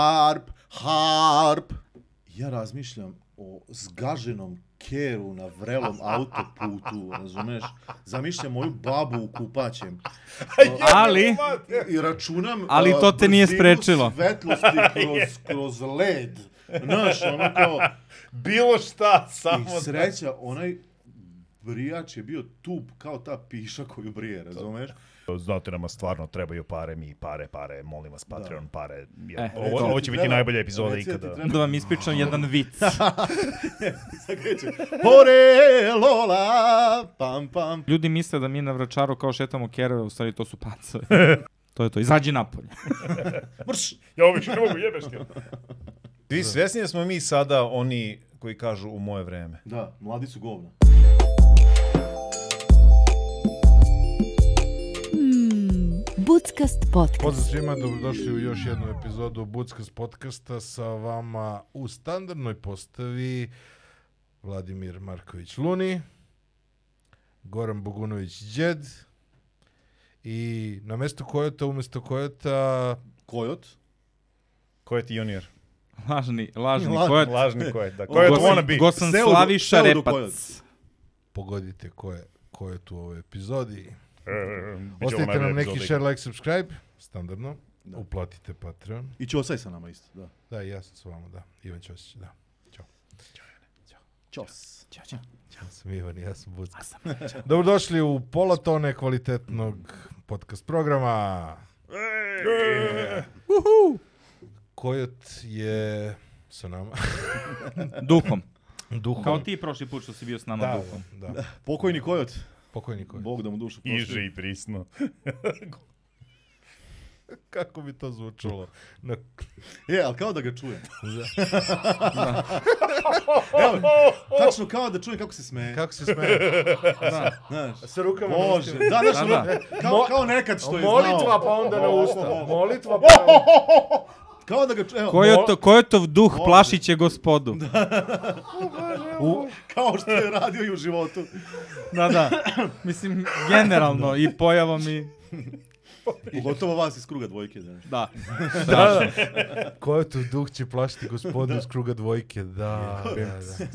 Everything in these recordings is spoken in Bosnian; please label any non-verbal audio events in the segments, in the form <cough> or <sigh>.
harp, harp. Ja razmišljam o zgaženom keru na <laughs> vrelom autoputu, razumeš? Zamišljam moju babu u kupaćem. Ali, I računam... Ali a, to te nije brzinu sprečilo. <laughs> Svetlosti kroz, kroz led. Znaš, ono kao... Bilo šta, I samo da. sreća, onaj brijač je bio tub kao ta piša koju brije, razumeš? Znate nama stvarno trebaju pare, mi pare, pare, molim vas Patreon pare. Ja, E, ovo, to ovo ti će biti treba- najbolja epizoda reci da ti ikada. treba- da vam ispričam jedan vic. Sad kreće. Hore, lola, pam, pam. Ljudi misle da mi na vračaru kao šetamo kerove, u stvari to su pacovi. To je to, izađi napolje. Mrš! Ja ovo više ne mogu jebeš <laughs> ti. Vi svjesni da smo mi sada oni koji kažu u moje vreme. Da, mladi su govna. Mm, Budskast podcast. Pozdrav svima, dobrodošli u još jednu epizodu Buckas podcasta sa vama u standardnoj postavi Vladimir Marković Luni, Goran Bogunović Đed i na mesto Kojota, umjesto Kojota, Kojot? Ko je ti junior? Lažni, lažni, Lažni, ko je... Lažni ko je. Da, ko je to Gosan- wanna be? Gosan Pseudo- Slaviša pseudo Repac. kojot. pogodite ko je, ko je tu u ovoj epizodi. E, bit će ovo Ostavite najbolja nam neki epizoda share, like, subscribe, standardno. Uplatite Patreon. I Ćosaj sa nama isto, da. Da, i ja sam s vama, da. Ivan Ćosić, da. Ćos. Ja sam Ivan, ja sam Bucka. sam Dobrodošli u pola tone kvalitetnog podcast programa. E, E, Kojot je sa nama. Duhom. Duhom. Kao ti prošli put što si bio s nama da, duhom. da, da. Pokojni Kojot. Pokojni Kojot. Bog da mu dušu prosti. Iže i prisno. Kako bi to zvučalo? Na... E, ali kao da ga čujem. <laughs> Evo, tačno kao da čujem kako se smeje. Kako se smeje? Da. Znaš, Sa rukama Bože, da, znaš, Da, ono, da. kao, kao nekad što je znao. Molitva pa onda na usta. Molitva pa onda... <laughs> Kao da ga čujem, evo, Kojoto, kojotov duh plašit će gospodu. U, kao što je radio i u životu. <laughs> Da, da. Mislim, generalno i pojavom i... Pogotovo vas iz kruga dvojke, znaš. Da. da, da. Kojot u duh će plašiti gospodu iz kruga dvojke. Da, da, da.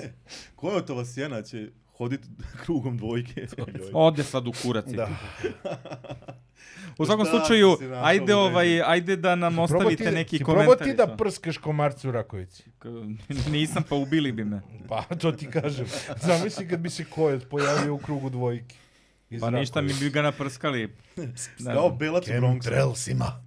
Kojotova sjena će hoditi <laughs> krugom dvojke. Ode sad u kurac. Da. U svakom Da, slučaju, ti si našao ajde, u ovaj, ajde da nam ostavite neki komentar. komentar. Probao ti i da to. prskaš komarcu u Rakovici. K- <laughs> Nisam, pa ubili bi me. Pa, to ti kažem. Zamisli kad bi se kojot pojavio u krugu dvojke. Iz Pa ništa, mi bi ga naprskali. Ne Kao znam. belac u Bronxa. Chemtrailsima.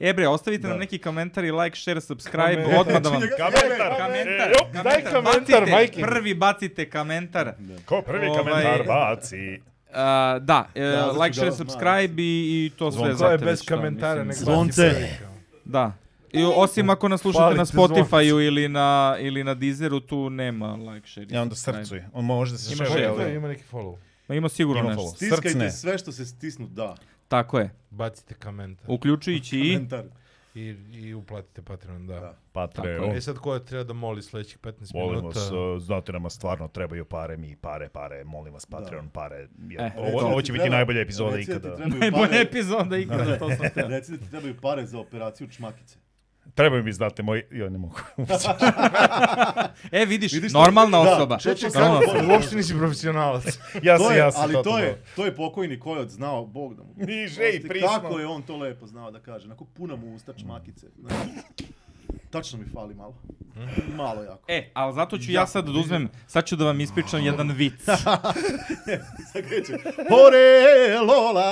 E bre, ostavite nam neki komentar i like, share, subscribe, Komentar. odmah da vam... Kamentar. Komentar, E, op, daj komentar, Bacite, majke. Prvi bacite komentar. Ko prvi Ovaj- kamentar baci? A, da, e, Da, zato like, ću share, ga subscribe i, i to sve Zvonko znate je već bez šta, komentara, nek mislim. baci Zvonce. prvi kao. Da. I osim ako nas slušate Palite na Spotify-u ili na, ili na Deezeru, tu nema like, share. i Ja onda subscribe. srcuj. On može da se Ima šeruje. šeruje. Ko je, Ima neki follow. Ma ima sigurno Ima nešto. follow. Srcne. Stiskajte sve što se stisnu, da. Tako je. Bacite komentar. Uključujući i... Komentar. I, i uplatite Patreon, da. da. Tako Patreon. E sad ko je treba da moli sledećih 15 Molim minuta? vas, uh, znate nama stvarno trebaju pare, mi pare, pare, molim vas Patreon pare. Ja, E, ovo, Reci da ovo ti će biti treba- najbolja epizoda reci da ti ikada. trebaju Najbolja pare- epizoda ikada, to sam htio. Reci da ti trebaju pare za operaciju čmakice. Trebaju mi znate moj... Joj, ne <laughs> mogu. E, vidiš, Vidiš šta- normalna da, osoba. što će Normalna kako- osoba. Uopšte nisi profesionalac. ja To sam, je, ja sam ali to totalno- je, to je pokojni Kojot znao, Bog da mu. Niže i Oprosti, prisno. Kako je on to lepo znao da kaže, onako puna mu usta čmakice. znaš. Tačno mi fali malo. Malo jako. E, ali zato ću ja sad da uzmem, sad ću da vam ispričam jedan vic. Sad kreće. Hore, lola,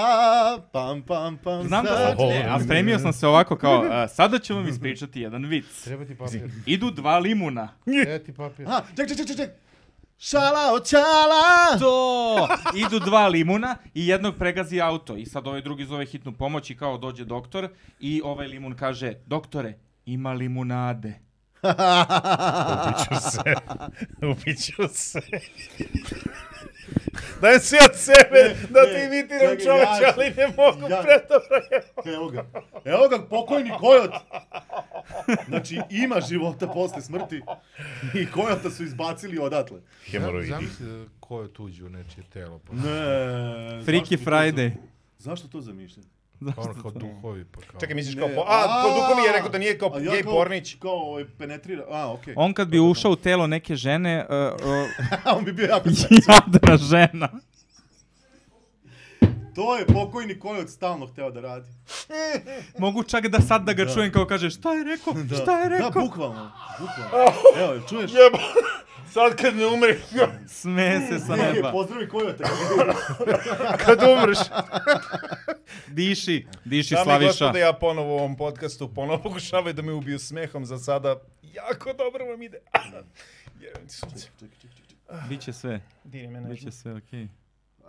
pam, pam, pam. Znam da sad. sad, ne, a spremio sam se ovako kao, a, sada ću vam ispričati jedan vic. Treba ti papir. Idu dva limuna. Treba ti <laughs> papir. Aha, ček, ček, ček, ček, ček. Šala, očala. To! Idu dva limuna i jednog pregazi auto. I sad ovaj drugi zove hitnu pomoć i kao dođe doktor i ovaj limun kaže, doktore, ima limunade. Upiću se. <laughs> Upiću se. <laughs> Daj se od sebe da ne, ti imitiram čekaj, čoveče, ja- ali ne mogu ja- predobro. Evo ga. Evo ga, pokojni Kojot. Znači, ima života posle smrti. I Kojota su izbacili odatle. Hemoroidi. Zamisli da ko je tuđi u nečije telo. Pa. Ne. Freaky zašto mi to za- Friday. Zašto to zamišljam? Ono kao duhovi, pa kao... Čekaj, misliš kao... Po, a, ko Duhovi je rekao da nije kao A ja gej kao- pornić. Kao ovaj, penetrira, a, okej. On kad bi ušao u telo neke žene, uh, A, <laughs> on bi bio <laughs> jako sve. uh, jadna žena. To je pokojni Kojot stalno hteo da radi. Mogu čak da sad da ga čujem kao kaže šta je rekao, šta je Da, rekao. bukvalno. <laughs> Bukvalno. Evo, čuješ? Jebo, sad kad ne umre, Sme se sa Ne, neba. pozdravi Kojota. kad umreš. Diši, diši Dame i Slaviša. gospode, ja ponovo u ovom podcastu ponovo <laughs> pokušavaju da me ubiju smehom za sada. Jako dobro vam ide. Jebem ti sunce. Biće sve, Dine me biće nežno. sve okej.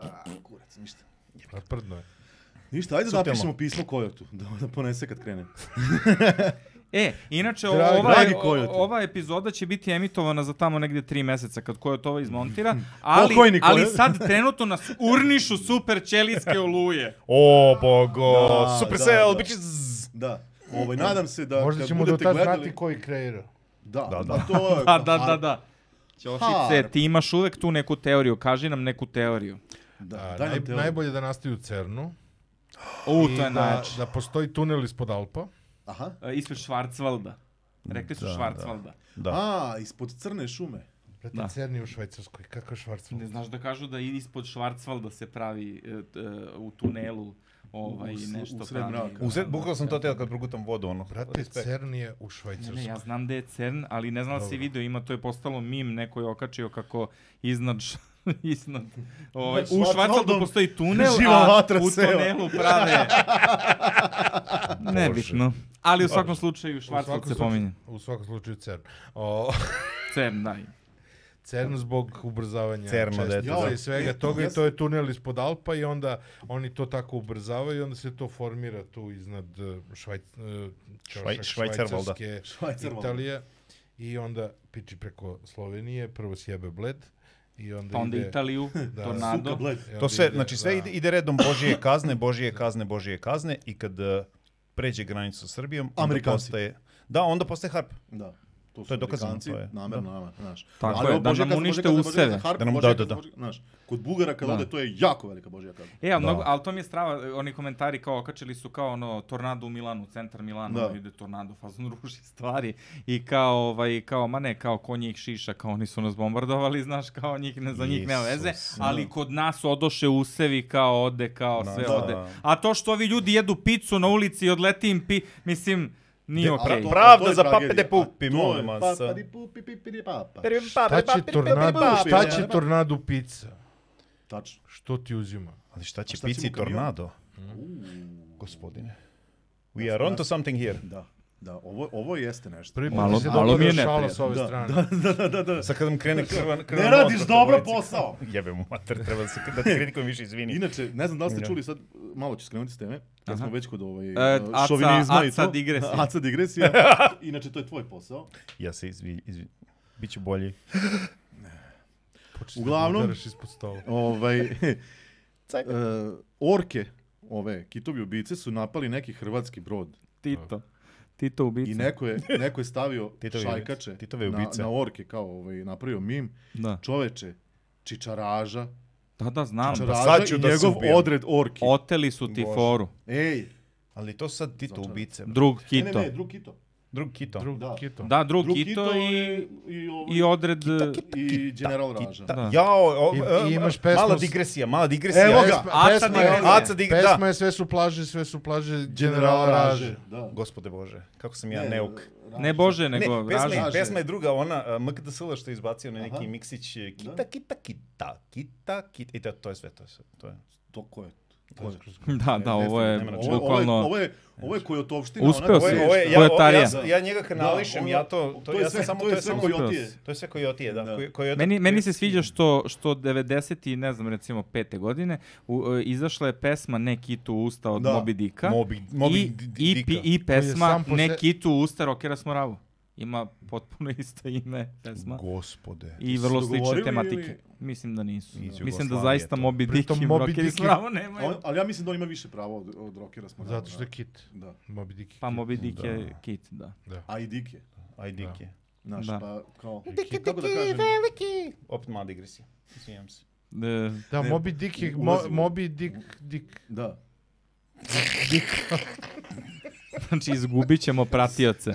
A, Kurac, ništa. A prdno je. Ništa, ajde da Suptilno. napišemo pismo Kojotu, da, da ponese kad krene. E, inače Dragi- ova, dragi Coyote. o- ova epizoda će biti emitovana za tamo negdje tri meseca kad Kojot ovo izmontira, ali, Pokojni ali Coyote. sad trenutno nas urnišu super ćelijske oluje. O, bogo. Da, da, Supercell, da. biće zzz. Da. Ovaj, nadam se da Možda kad ćemo do budete tad gledali... znati ko je kreirao. Da, Da, da, da. da. To <laughs> je, Da, da, da, da. Ćošice, Har. ti imaš uvek tu neku teoriju, kaži nam neku teoriju. da. Da, daj naj, nam teoriju. najbolje da nastaju u Cernu. U, I to je da, najjače. da postoji tunel ispod Alpa. Aha. E, Ispred Švarcvalda. Rekli su Da, Švarcvalda. Da. A, ispod crne <laughs> šume. Brate, Da. Cern je u Švajcarskoj, kako je Švarcvald? Ne znaš da kažu da i ispod Švarcvalda se pravi e, t- e, u tunelu ovaj, U s- nešto usred pravi. mraka. Uzet, bukao sam to teo kad progutam vodu, ono. Brate, Respekt. Cern je u Ne, Švajcarskoj. ne, ja znam da je CERN, ali ne znam da si Dobro. video, ima, to je postalo mim, neko je okačio kako iznad, š- <laughs> iznad ovaj, Nad u Švarcvaldu Schwarzwaldom postoji tunel, živa a vatra u seva. tunelu prave... Nebitno. Ali u svakom slučaju Švarcvald se pominje. U svakom slučaju Cern. O, <laughs> CERN, da. Cern zbog ubrzavanja Cerno, čestica dete, da. i svega toga i to je tunel ispod Alpa i onda oni to tako ubrzavaju i onda se to formira tu iznad eh, Švajc, eh, Švaj- čošak Švajcarvalda. švajcarske Švajcarvalda. Italije i onda piči preko Slovenije, prvo sjebe Bled i onda, Pa onda ide... Italiju, Da. Suka Tornado. bled. i onda To sve, ide, znači sve da. ide, ide redom Božije kazne, Božije kazne, Božije kazne i kad eh, pređe granicu sa Srbijom, onda Amerikanci. postaje... Da, onda postaje harp. Da. To, To je dokazano, Amerikanci, to je. Namerno, da. namerno, znaš. Tako Ali je, ovo da Božja nam kazna, unište Božja kazna, useve. Božja kazna, harp, Da nam- Božja da, kazna, da, da. Božja- Znaš, kod Bugara kad ode, to je jako velika Božja kazna. E, ali, Da. mnogo, ali to mi je strava, oni komentari kao okačili su kao ono tornado u Milanu, centar Milana, Da. ono, ide tornado, fazon <laughs> ruši stvari i kao, ovaj, kao, ma ne, kao ko njih šiša, kao oni su nas bombardovali, znaš, kao njih, ne, za njih nema veze, Isus, ali kod nas odoše usevi kao ode, kao Da, sve da. ode. A to što ovi ljudi jedu picu na ulici i odleti im pi, mislim, nije De- okej. A to- Okay. Pravda to je za pape tragedija. de pupi, A to je molim vas. papadi pupi, pipidi papa. pa- Šta će tornado, šta će tornado pizza? Tačno. Što ti uzima? Ali šta će Šta će pici mu kamion? tornado? Mm. Gospodine. We are onto something here. Da, da, ovo, ovo jeste nešto. Prvi put Malo- mi se malo mi je dopada šala neprijatno. s ove Da, <laughs> strane. Sad kad vam krene krvan... krvan Ne radiš odnos, dobro dvojica. posao. <laughs> Jebe mu mater, treba da se da te kritikujem više, <laughs> izvini. Inače, ne znam da li ste Da. čuli sad, malo ću skrenuti s teme, kad smo već kod ovaj, E, uh, aca- šovinizma i to. aca digresija. Aca digresija. Inače, to je tvoj posao. Ja se izvini, izvini. Biću bolji. Početi da Uglavnom- udaraš ispod stola. Ovaj, Cajk. e, orke, ove, kitovi ubice su napali neki hrvatski brod. Tito. Tito ubica. I neko je, neko je stavio Titovi ubice. šajkače Titove na, ubice. na orke, kao ovaj, napravio mim. Da. Čoveče, čičaraža, da, da, znam. čičaraža sad ću i da se njegov ubijem. odred orki. Oteli su ti Bože. foru. Ej, Ali to sad Tito Začaran. ubice. bro. Drug ne, ne, Kito. ne, drug kito. Drug Kito. Drug Da. kito. Da, drug, Drug Kito, i... i, ovaj- i odred... <laughs> i general Raža. Da. Da. Jao, o, e, I- i imaš pesmu mala s- digresija, mala digresija. Evo Pesma- ga. Aca pesma je- digresija. Aca dig, da. Pesma je sve su plaže, sve su plaže General generala Raže. Raže. Da. Gospode Bože, kako sam ja neuk. Ne Bože, nego ne, pesma, Raža. je, Raže. pesma je druga, ona uh, MKDSL što je izbacio na neki Aha. miksić eh, kita, Da. kita, kita, kita, kita, i to, to je sve, to je sve, to je. To ko je? Ko je? Da, da, ovo je Nema na čemu. Ovo, ovo, je, bukvalno... Znači, ovo je, ovo je kojotovština. Uspeo Ovo si. je, ona ovo je, ja, Ko je ovo, ja, Tarija? s- ja njega kanališem, Da, ja ono- to, to, to je ja sam sve- samo, to je sve samo, kojotije. to je sve kojotije, da, Da. koji- kojota. Meni, meni se sviđa što, što 90. ne znam, recimo pete godine, u, e, izašla je pesma Ne kitu u usta od Da. Moby Dicka. Moby- Moby i, D- i, Dicka. pi- i Koji pesma je sam po Ne se- kitu u usta Rockera smo ravu. Ima potpuno isto ime pesma. Gospode. I vrlo Su slične dogovorili tematike. ili- Mislim da nisu. Iz Mislim da Jugoslavije zaista to. Moby Dick Pritom i Moby Rockeri Dick smo je- ravu nemaju. On, ali ja mislim da on ima više prava od, od rockera smo. Zato što je je kit. Da. Moby Dick je Pa kit. Moby Dick je Da. kit, da. A i Dike. Aj, dike. Znaš, Da. pa kao... Dike, Kako da kažem? Opet mala digresija. Izvinjam se. E, Da, Ne, Moby Dick je, ulazimo. Mo, Moby Dick, Dick. Da. Znači, izgubit ćemo pratioce.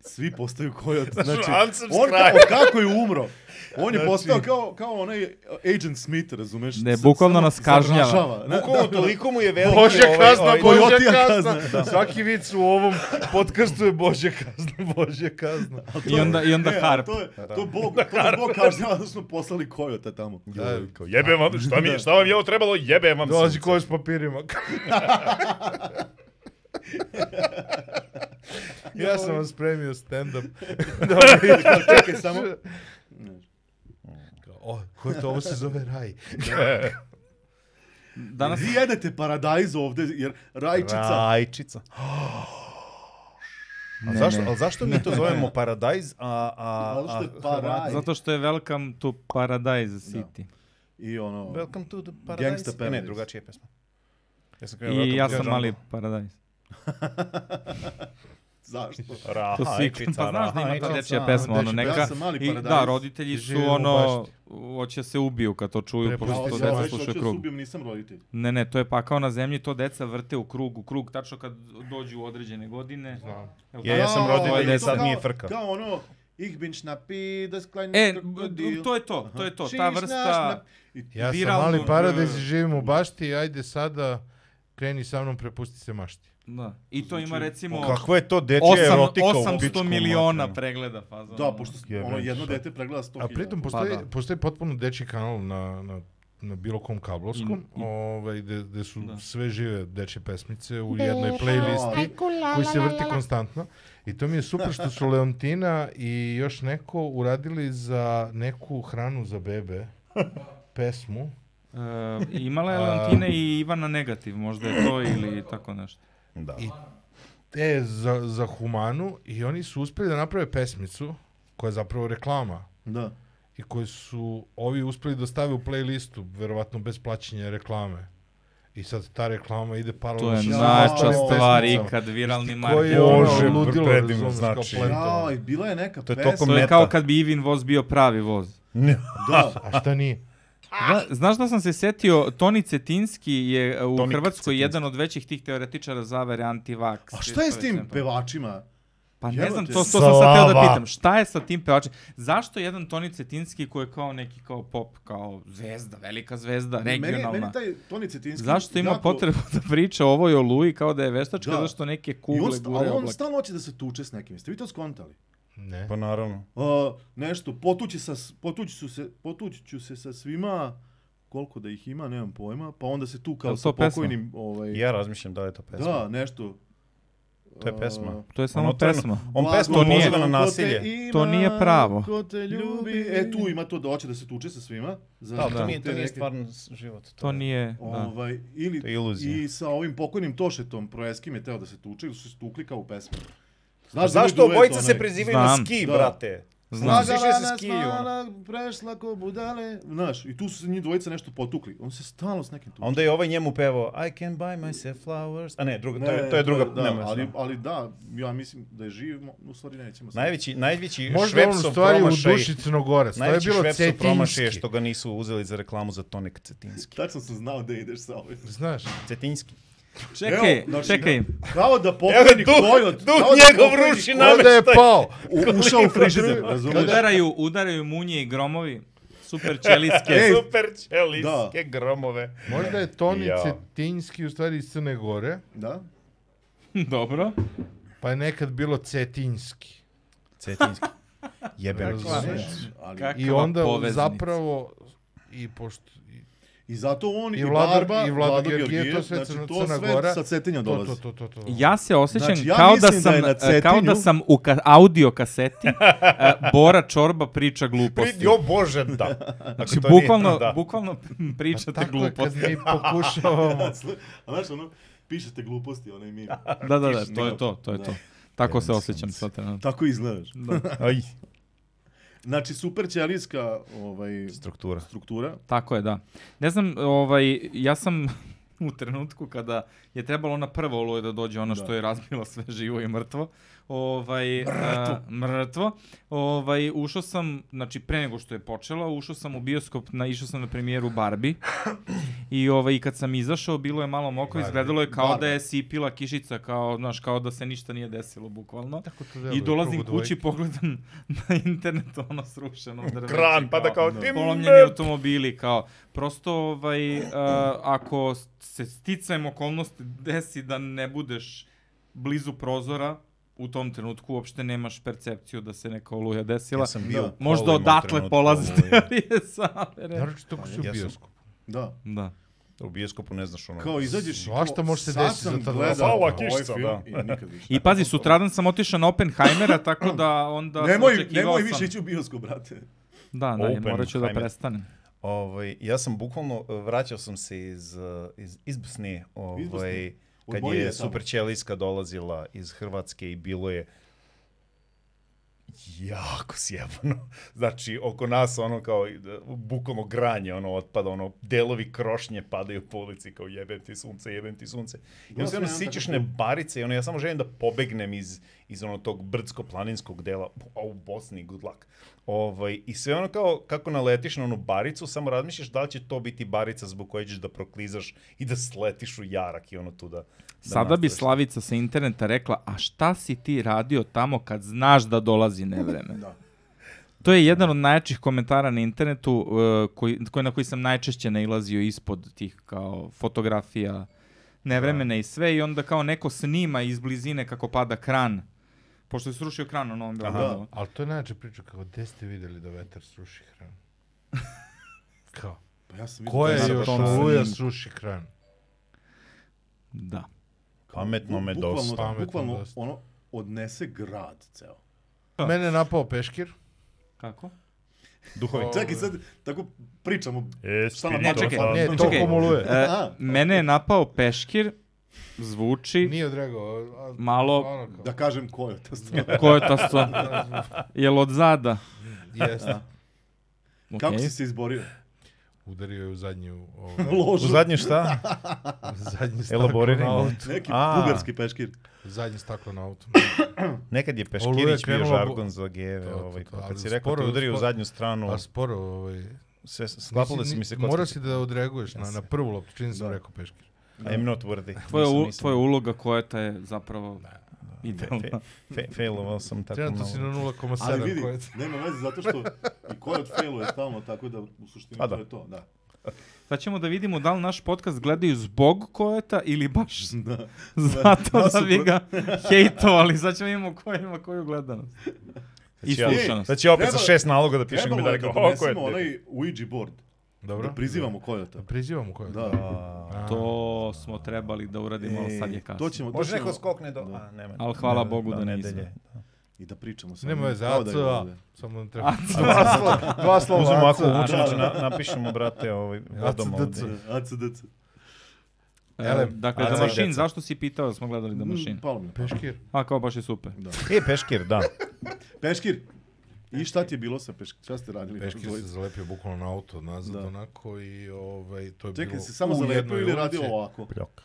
Svi <laughs> postaju kojot. Znači, Žvancem on strah. kao, kako je umro? On je postao kao, kao onaj Agent Smith, razumeš? Znači- Ne, Sa- bukvalno samo nas se kažnjava. zagražava, ne? Bukvalno toliko mu je veliki Božja ovaj, kazna, ovaj, Božja Kojotija kazna. kazna, da. Svaki vic u ovom podcastu je Božja kazna, Božja kazna. I onda, i onda E, ali harp. To je, to <laughs> Bog, to je Bog kažnjava da smo poslali kojota tamo. Da, <laughs> Kao, jebem vam, šta, mi, šta vam je ovo trebalo, jebem vam Dolazi sunce. ko je s papirima. ja sam vam spremio stand-up. da vam vidite. Čekaj samo. Kao, O, ko je to? Ovo se zove raj. Danas, Vi jedete paradajz ovde, jer <laughs> rajčica... <gasps> Rajčica. A zašto, ali zašto mi to zovemo paradajz, a... a, Zato a što <laughs> je paraj. zato što je Welcome to Paradise City. I ono... Welcome to the paradise. Gangsta E, ne, Paradise. drugačija je pesma. Ja sam I ja sam mali Paradise. Zašto? To svi, <laughs> pa znaš da ima ta dečija pesma, ono dečija, neka. ja sam mali I, paradajz. da, roditelji su Živimo u ono, bašti. hoće se ubiju kad to čuju, Prepusti pošto to se. deca Ja, slušaju krug. krug. Subim, nisam roditelj. Ne, ne, to je pakao na zemlji, to deca vrte u krug, u krug, tačno kad dođu u određene godine. Znam. Ja, ja sam Jao, roditelj to je i sad kao- mi je frka. Kao ono, ich bin schnappi, das kleine E, krokodil. to je to, to je to, Aha. ta Či znaš, vrsta... na- i- Ja sam Viralno, mali paradajz i da. živim u bašti. Ajde sada kreni sa mnom, prepusti se mašti. Da. I to ima recimo Kakva je to dečija ono, osam- erotika u pičku 800 materinu? miliona pregleda fazona. Da, pošto Jebem, ono jedno šta? dete pregleda 100.000. A pritom Pa postoji, da. postoji potpuno dečji kanal na, na, na bilo kom kablovskom, I- i- ovaj, gde, gde su Mm. Da. sve žive dečje pesmice u jednoj playlisti. koji se vrti konstantno. I to mi je super što su Leontina i još neko uradili za neku hranu za bebe pesmu. E, imala je Leontine i Ivana negativ, možda je to ili tako nešto. Da. I- E, za, za humanu i oni su uspeli da naprave pesmicu koja je zapravo reklama Da. i koju su ovi uspeli da stave u playlistu, verovatno bez plaćanja reklame. I sad ta reklama ide To paralelno je sa svim najča ostalim stvar pesmicama. ikad viralni Koje je marketing. ono Bože, ludilo, predivno, razumiješ, kao znači. plentom. Jao, i bila je neka To je pesma. tokom- To je meta. kao kad bi Ivin voz bio pravi voz. <laughs> Da, A šta nije? Zna, znaš da sam se setio, Toni Cetinski je e, u Tonik Hrvatskoj Cetinski. jedan od većih tih teoretičara zavere antivaks. a šta je s tim Sve to. pevačima? Pa ne Jebote. znam, to, to sam sad teo da Slava. pitam. Šta je sa tim pevačem? Zašto jedan Toni Cetinski koji je kao neki kao pop, kao zvezda, velika zvezda, regionalna? Meni, meni taj Toni Cetinski... Zašto ima jako- potrebu da priča ovo i o Luji kao da je veštačka, Da. zato što neke I on, kugle sta- gure ali on oblak. stalno hoće da se tuče s nekim. Jeste vi to skontali? Ne. Pa naravno. Uh, nešto, potući, sa, s- potući, su se, potući ću se sa svima, koliko da ih ima, nemam pojma, pa onda se tu Je kao li sa to pesma? pokojnim... Ovaj, Ja razmišljam da li je to pesma. da, nešto. To je Uh, pesma. To je samo Ono trenu- pesma. On blago pesma To nije- poziva na ko te nasilje. ima, To nije pravo. Ko te ljubi. E, tu ima to da hoće da se tuče sa svima. Za, Da, za to nije, te to nije neke- stvarno život. To je- nije... Da. Ovaj, ili, To je iluzija. I sa ovim pokojnim Tošetom Projeskim je teo da se tuče, ili su se tukli kao u pesmi. A Znaš, zašto obojica se prezivaju na Znam, ski, da. brate? Znam. Znaš, više se skiju, ono. Ona prešla ko budale. Znaš, i tu su se njih dvojica nešto potukli. On se stalno s nekim A tukli. onda je ovaj njemu pevao I can buy myself flowers. A ne, druga, to, je, to je druga. Da, nema, ali, znam. ali da, ja mislim da je živ, mo- u stvari nećemo se. Najveći, najveći Možda on švepsov stvari u promašaj. duši Crnogorac. To je Najveći bilo švepsov promašaj je cetinski. što ga nisu uzeli za reklamu za tonik cetinski. Tačno sam znao da ideš sa ovim. Znaš, Cetinski. <laughs> Čekaj, Evo, znači- čekaj. Kao da pokojni duh- kojot. duh kao da njegov pokojni ruši kojot ovdje je nameštaj. pao. u- Ušao u frižider, razumiješ? Udaraju, udaraju munje i gromovi. Super ćelijske. <laughs> Ej, Super ćelijske da. gromove. Možda je Toni Ja. Cetinski u stvari iz Crne Gore, Da? Dobro. pa je nekad bilo Cetinski. <laughs> Cetinski. Jebem ti Reklama. sve. Ali, Kakva I onda poveznica. zapravo i pošto i I zato on i, I Vlado- Barba, i Vlado Georgijev, to sve Crna- znači to Crna sve Gora. sa Cetinja to, dolazi. <laughs> to, to, to, to. Ja se osjećam Znači, ja kao, da mislim da sam, je na e, kao da Cetinju- sam u ka audio kaseti e, Bora Čorba priča gluposti. Jo bože, da. Znači, Ako to nije- bukvalno, da. bukvalno pričate Pa Tako je kad gluposti. mi <laughs> pokušavamo. A znaš ono, pišete gluposti, onaj mi. Da, da, da, to je to, to je Da. to. Tako se Jedan osjećam sunac. sad trenutno. Tako izgledaš. Aj, Znači, super ćelijska ovaj, struktura. struktura. Tako je, da. Ne znam, ovaj, ja sam u trenutku kada je trebalo na prvo oluje da dođe ono Da. što je razbilo sve živo i mrtvo, ovaj, mrtvo. A, mrtvo. Ovaj, ušao sam, znači pre nego što je počelo, ušao sam u bioskop, na, išao sam na premijeru Barbie i ovaj, kad sam izašao bilo je malo mokro, Barbie. izgledalo je kao Barbie. da je sipila kišica, kao, znaš, kao da se ništa nije desilo bukvalno. Tako to I deluje, dolazim krugu kući, dvojke. pogledam <laughs> na internetu ono srušeno drveće. Kran, pa Znači, da kao Da. tim... polomljeni automobili kao prosto ovaj uh, ako se sticajem okolnosti desi da ne budeš blizu prozora u tom trenutku uopšte nemaš percepciju da se neka oluja desila. Ja <laughs> sam bio Da. u Možda kolima u odatle trenutku ovaj, polazi oluje. teorije zavere. Naročito ako Pa, si u ja sam- bioskopu. Da. Da. U bioskopu ne znaš ono... Kao izađeš i Svašta kao, može se sad desiti sam za ta dva gledao sata. ovaj Kišca, film da. I, nikad <laughs> više. I pazi, sutradan sam otišao na Oppenheimera, tako da onda nemoj, sam očekivao nemoj sam... više ići u bioskop, brate. Da, da, morat ću da Oppenheimer. prestanem. Ovaj, ja sam bukvalno, eh, vraćao sam se iz, eh, iz, iz Bosne, ovaj, Iz Bosne. Od kad moje je je tamo. Super Ćelijska dolazila iz Hrvatske i bilo je jako sjebano. <laughs> Znači, oko nas ono kao, eh, bukvalno granje ono otpada, ono, delovi krošnje padaju po ulici kao jebem ti sunce, jebem ti sunce. I onda Bosna se ono je jedan sićeš takav ne barice i ono, ja samo želim da pobegnem iz, iz ono tog brdsko-planinskog dela, a u Bosni, good luck. Ovaj, I sve ono kao, kako naletiš na onu baricu, samo razmišljaš da li će to biti barica zbog koje ćeš da proklizaš i da sletiš u jarak i ono tu da... da Sada bi nastaviš. Slavica sa interneta rekla, a šta si ti radio tamo kad znaš da dolazi nevreme? <laughs> Da. To je jedan od najjačih komentara na internetu uh, koji, koji, na koji sam najčešće nailazio ispod tih kao fotografija nevremena i sve i onda kao neko snima iz blizine kako pada kran. Pošto je srušio kran na Novom Beogradu. Ali to je najjače priča kao gde ste vidjeli da vetar sruši hranu. Kao, Pa ja sam ko je na vidio- još ono tom oluja snimku. sruši hranu? Da. Pametno me Bukvalno- dosta. Pametno Bukvalno, dosta. ono, odnese grad ceo. Da. Mene je napao peškir. Kako? Duhovi. O, Čekaj, sad tako pričamo. E, Šta nam Ne, čekaj, Ne, Čekaj. to komoluje. E, A. mene je napao peškir, zvuči Nije odregao. a- a- malo... ono kao. Da kažem ko je ta stvar. Ko je ta <laughs> sto? Jel od zada? Jeste. Kako Okej. si se izborio? Udario je u zadnju... Ovaj, <laughs> Ložu. U zadnje šta? zadnji staklo Elaboriraj na malo. autu. Neki A. bugarski peškir. Zadnje staklo na autu. Nekad je Oluja je Peškirić bio krenula bu- žargon za To, geve. to, to, Ovaj, pa ali kad si rekao sporo, te udari u sporo. zadnju stranu, Pa sporo, ovaj... sve Ono. sklapale nisi- su mi se ni- Morao si kockice. da odreaguješ na, na prvu loptu, čini sam Da. rekao peškir. I'm not worthy. Tvoja, Nisam- u, nisam- tvoja uloga koja te je zapravo Fe, idealna. fe- fe, failovao sam tako Trenutno si na malo. 0,7. Ali vidi, koje- nema veze zato što i ko je od failu je stalno tako da u suštini Pa da. to je to. Da. <laughs> Sad ćemo da vidimo da li naš podcast gledaju zbog Koeta ili baš <laughs> da. zato da Nasuprot. bi ga hejtovali. Sad ćemo vidimo ko ima koju gledanost. I Znači ja- slušanost. Sad će opet sa Trebalo- šest naloga da pišem mi Trebalo da je da rekao, o, ko je donesemo dete?" onaj Ouija board. Dobro. Da prizivamo Kojota. Da prizivamo koje. Da. E, A, To smo trebali da uradimo, ali E, sad je kasno. to ćemo, to Može ćemo- neko skokne do... Da. A, nema. Ali hvala Bogu da nismo. nedelje. I da pričamo sa Nema njim, veze, kao da je ACA. ovdje. Samo nam treba. <laughs> <laughs> Dva slova. Uzmemo ako Aca. uvučemo, će na, napišemo, brate, ovaj, vodom Aca, ovdje. Da, ACDC. E, Elem, dakle, ajde, The Machine, deca. zašto si pitao da smo gledali The Machine? Mm, Palo mi je. Peškir. A kao baš je super. Pa, E, peškir, da. Peškir. I šta ti je bilo sa Peškir? Šta ste radili? Peškir se Dvojica. zalepio bukvalno na auto nazad Da. onako i ovaj, to je Čekaj, bilo si samo u zalepio jednoj ili radio ulici. ovako? Pljok.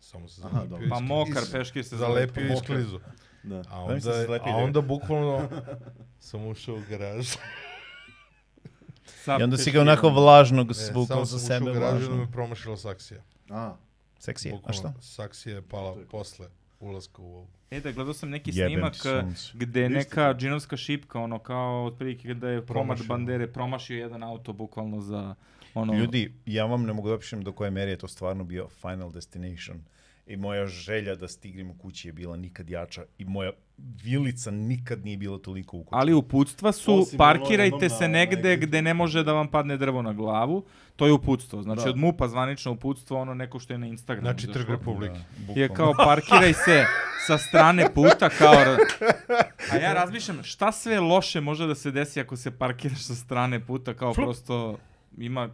Samo se Aha, zalepio. dobro. i Pa skli- mokar i- peškir se Zalepio i zalepio. sklizu. Da. A Zamisli onda, se zalepio a i onda bukvalno <laughs> sam ušao u garaž. Sa I onda si ga peškirom. onako vlažnog E, svukao samo za ono, sam sebe ušao u garaž i onda vlažno. me promašila saksija. A, Seksije, a šta? Bukvalno, saksija je pala posle ulaska u ovu. E da, gledao sam neki Jebem snimak e, ti sunce. gde je Isto. neka džinovska šipka, ono kao otprilike da je komad Promašio. bandere promašio jedan auto bukvalno za ono... Ljudi, ja vam ne mogu da opišem do koje meri je to stvarno bio Final Destination. I moja želja da stignem u kući je bila nikad jača. I moja vilica nikad nije bila toliko u kući. Ali uputstva su, Osim ono parkirajte jednom na- se negde negde. gde ne može da vam padne drvo na glavu. To je uputstvo. Znači Da. od MUPA zvanično uputstvo, ono neko što je na Instagramu. Znači izašlo. Trg Republike. Je kao parkiraj se sa strane puta kao... ra- A ja razmišljam šta sve loše može da se desi ako se parkiraš sa strane puta kao prosto ima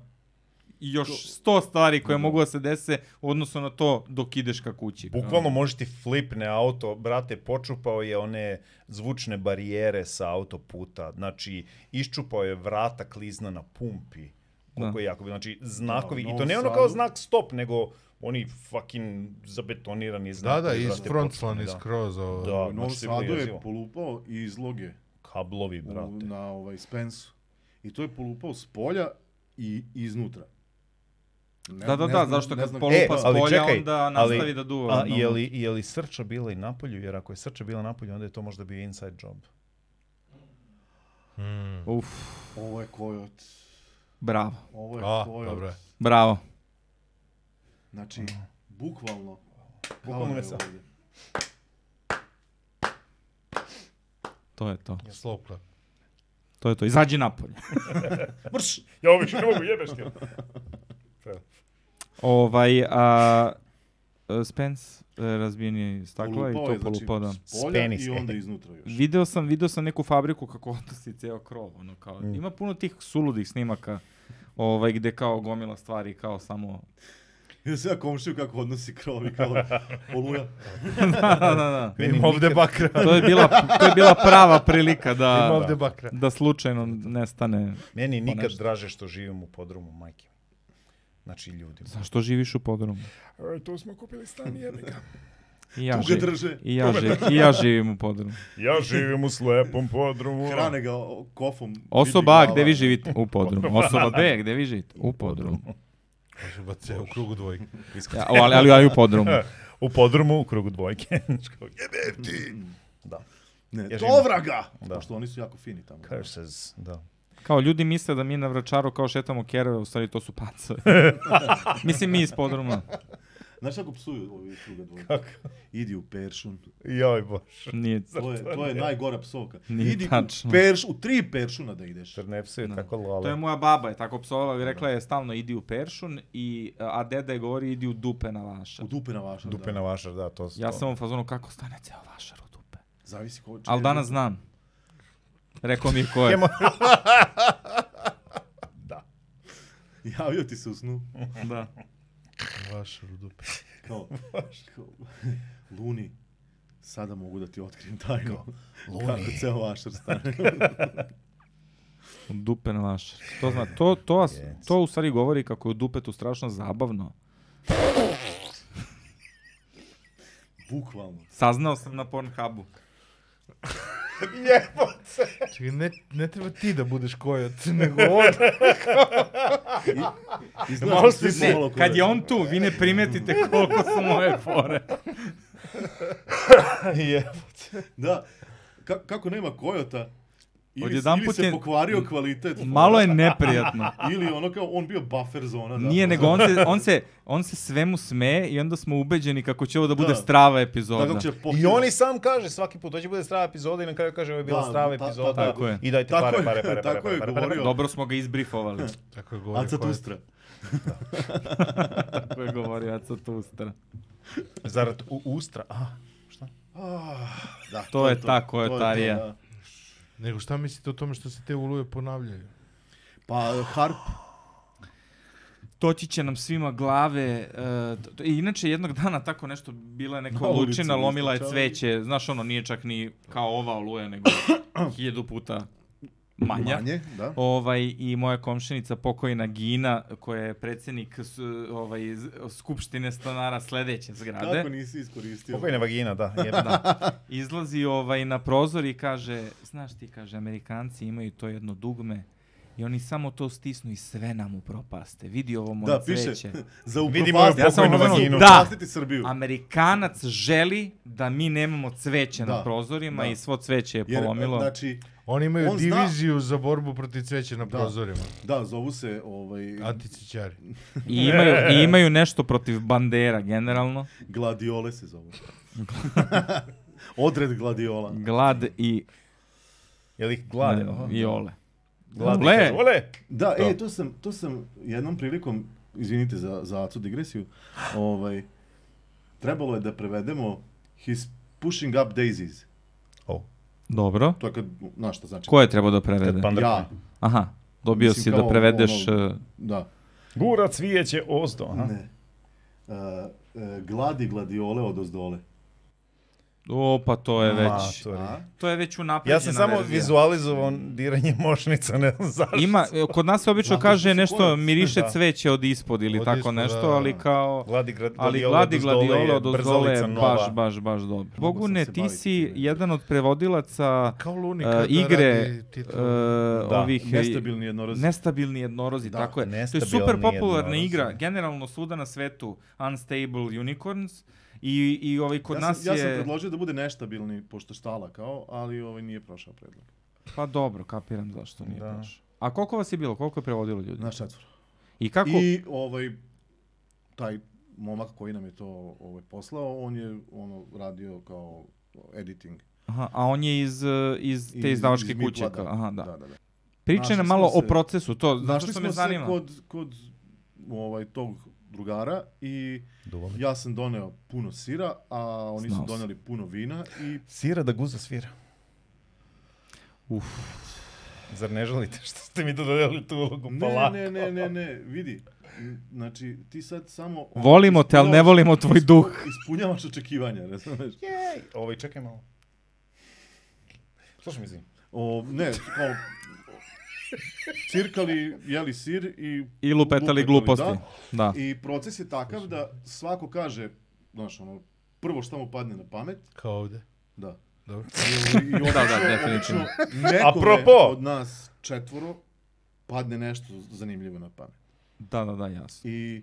još sto stvari koje mogu da se dese u odnosu na to dok ideš ka kući. kao. Bukvalno može ti flipne auto, brate, počupao je one zvučne barijere sa autoputa, znači iščupao je vrata klizna na pumpi, koliko Da. je jako bilo, znači znakovi, Da, u i to Novom ne ono kao Sadu. znak stop, nego oni fucking zabetonirani Da, znate. da, iz brate, frontlan, potpuno, iz skroz ovo. Da, U da Novom znači, to je bilo Sadu je jezivo. polupao i izloge Kablovi, u, brate. na ovaj Spensu. I to je polupao s polja i iznutra. Ne, Da, da, ne da, znam- zašto kad ne znam- polupa E, s ali polja, čekaj, onda ali- nastavi da duva. A ono. je li, je li srča bila i napolju? Jer ako je srča bila napolju, onda je to možda bio inside job. Uf, Ovo je Kojot. bravo, Ovo je A, Kojot. dobro je. bravo. Znači, Mm. bukvalno. Bukvalno kao me je sad. ovdje. To je to. Slow clap. To je to. Izađi napolje. Mrš! Ja ovo više ne mogu jebeš ti. Ovaj, a, e, Spence e, razbijen je stakla i Polupao to je, znači, polupao, da. s polja Spenis, i e. onda iznutra još. Video sam, video sam neku fabriku kako odnosi ceo krov, ono kao, ima puno tih suludih snimaka, ovaj, gde kao gomila stvari, kao <laughs> samo... Ja sam ja komšiju kako odnosi krovi, kao oluja. da, da, da. Ima ovde bakra. To je bila, to je bila prava prilika da, Ima ovde bakra. da slučajno nestane. Meni je nikad nešto. draže što živim u podrumu, majke. mi. Znači ljudima. Zašto živiš u podrumu? e, Tu smo kupili stan jebika. I ja, Tu ga živ, drže. i, ja živ, I ja živim u podrumu. <laughs> ja živim u slepom podrumu. Hrane ga o- kofom. Osoba vidi A, glava. gde vi živite? U podrumu. Osoba B, gde vi živite? U podrumu. Osoba C u krugu dvojke. Ja, o, ali, ali ja i u podrumu. U podrumu, u krugu dvojke. <laughs> Znaš kao, Jebem ti! Da. Ne, Ja živim- dovra ga! Da. Pošto oni su jako fini tamo. Curses, da. Kao ljudi misle da mi na vračaru kao šetamo kerove, u stvari to su pacovi. Mislim mi iz podruma. Znaš kako psuju ovi druga dvoje? Kako? Idi u <laughs> peršun. Joj bož. Nije. To je, to je najgora psovka. Nije Idi tačno. u perš, u tri peršuna da ideš. Črnepsu je Da. tako lala. To je moja baba, je tako psovala i rekla je stalno idi u peršun, i, a deda je govori idi u dupe na vaša. U dupe na vaša. Dupe na vašar, da, to su Ja to. sam u fazonu kako stane ceo vašar u dupe. Zavisi ko će. Ali danas znam. Rekao mi je ko je. <laughs> Javio ti se u snu. Da. Vašar u dupe. <laughs> Kao, kao <laughs> Luni, sada mogu da ti otkrijem tajnu. Luni. <laughs> Kako ceo vašar <laughs> stane. U dupe na vašar. To zna, to, to, as- Yes. to u stvari govori kako je u dupetu strašno zabavno. Bukvalno. Saznao sam na Pornhubu. Pa Čekaj, ne, ne treba ti da budeš kojot, <laughs> nego on. Izgledaš Malo svi si- Ne, pomalo ko- kad je on tu, vi ne primetite koliko su moje fore. je. Da. Ka kako nema kojota, ili, ili Odjedanput se je- pokvario kvalitet. <laughs> Malo je neprijatno. Ili ono kao, on bio buffer zona. Da, Ono Nije, nego on se, on, se, on se svemu sme i onda smo ubeđeni kako će ovo da bude Da. strava Da, epizoda. kako će I popio- oni sam kaže svaki put, dođe bude strava epizoda i na kraju kaže ovo je bila Da, strava ta- ta- epizoda tako je. i dajte Tako pare, je, pare, pare, tako pare, je pare, pare, govorio. Dobro smo ga <laughs> izbrifovali. Tako je govorio Aca kojot. Tustra. Tako je govorio Aca Tustra. pare. Zarad u, ustra, a, šta? Ah, Da, To je ta kojotarija. da. Nego šta mislite o tome što se te uluje ponavljaju? Pa harp, Toći će nam svima glave. e, to- to- i inače, jednog dana tako nešto bila je neka Na ulici lučina, lomila je istrčali. cveće. Znaš, ono nije čak ni kao ova <coughs> oluja, nego hiljadu puta manja. manje, da. Ovaj, I moja komšinica pokojna Gina, koja je predsjednik s- ovaj, z- skupštine stanara sledeće zgrade, Kako nisi iskoristio? Pokojna vagina, da, jebe, da. izlazi ovaj, na prozor i kaže, znaš ti, kaže, Amerikanci imaju to jedno dugme i oni samo to stisnu i sve nam upropaste. Vidi ovo moje Da, piše, cveće. <laughs> za Vidimo upropastiti je pokojnu Srbiju. vaginu. Da. Upropastiti Srbiju. Amerikanac želi da mi nemamo cveće na Da, prozorima da. i svo cveće je Jer, polomilo. znači, Oni imaju On zna- diviziju za borbu protiv cveća na Da. prozorima. da, zovu se, ovaj, Anticićari. I, <laughs> imaju, I imaju nešto protiv bandera generalno. gladiole se <laughs> zovu. Odred gladiola. Glad i, e, Jel ih glade? aha. i ole. Glade, Ole! kaže, ole! Da, Da. e, to sam, to sam jednom prilikom, izvinite za, za acu digresiju, ovaj, trebalo je da prevedemo He's pushing up daisies. Dobro. To je kad, znaš šta znači. Ko je trebao da prevede? Kad pandra- Ja, Aha, dobio Mislim, si da kao prevedeš... ono- eh, da. E, Gura cvijeće ozdo, aha. Ne. Uh, gladi gladiole od ozdole. O, pa to je već... Matori. A? To je već unapređena Ja sam samo verzija. vizualizovao diranje mošnica, ne znam zašto. <laughs> Ima, e, kod nas se obično Zato što kaže su nešto korac. miriše Da. cveće od ispod ili Od tako ispod, nešto, da, da. ali kao... Gladi grad, Ali gladiola gladi dozdole gladiola je do brzalica zole nova. baš, baš, baš dobro. sam Bogune, se ti baviti si time. jedan od prevodilaca Kao e, Luni kada igre radi e, titul. Da, ovih... Nestabilni jednorazni. Nestabilni jednorozi, Da, tako je. To je nestabilni super popularna jednorozi. igra, generalno svuda na svetu, Unstable Unicorns. I, i ovaj, kod ja nas sam, je... Ja sam predložio da bude neštabilni, pošto stala kao, ali ovaj nije prošao predlog. Pa dobro, kapiram zašto nije Da. prošao. A koliko vas je bilo? Koliko je prevodilo ljudi? Naš četvor. I kako? I ovaj, taj momak koji nam je to ovaj, poslao, on je ono radio kao editing. Aha, a on je iz, e, iz te iz- izdavačke iz kuće. Mipla, ka- Aha, da. da, da, da. Pričaj nam Našli smo malo o se- procesu, to, zato Našli što me smo se zanima. kod, kod ovaj, tog drugara i Duvali. ja sam doneo puno sira, a oni Znao su sam. doneli puno vina i Sira da guza svira. Uf. Zar ne želite što ste mi dodelili tu ulogu? Pa Ne, lako. ne, ne, ne, ne, vidi. Znači, ti sad samo... Volimo te, ali ne ispunjavaš- volimo tvoj duh. Ispunjavaš očekivanja, <laughs> razumeš? Jej. Ovaj, čekaj malo. Slušaj mi zim. O, ne, kao... Cirkali, jeli sir i... I lupetali gluposti. Da. Da. I proces je takav da svako kaže, znaš, ono, prvo što mu padne na pamet, Kao ovde. da. <laughs> Dobro. I, i obično, Da, da, definitivno. obično Nekome Apropo! od nas četvoro padne nešto zanimljivo na pamet. Da, da, da, jasno. I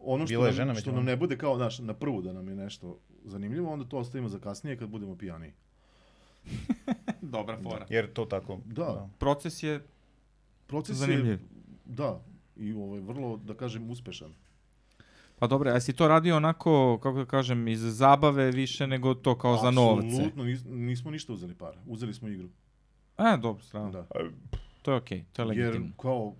ono što, Bila je nam, žena među što vama. nam ne bude kao, znaš, na prvu da nam je nešto zanimljivo, onda to ostavimo za kasnije kad budemo pijani. Dobra fora. Jer to tako. Da. Proces je Proces zanimljiv. je, da, i ovaj, vrlo, da kažem, uspešan. Pa dobro, a si to radio onako, kako da kažem, iz zabave više nego to kao za novce? Apsolutno, nis, nismo ništa uzeli para, uzeli smo igru. E, dobro, strano. Da. To je okej, okay, to je legitimno. Jer kao,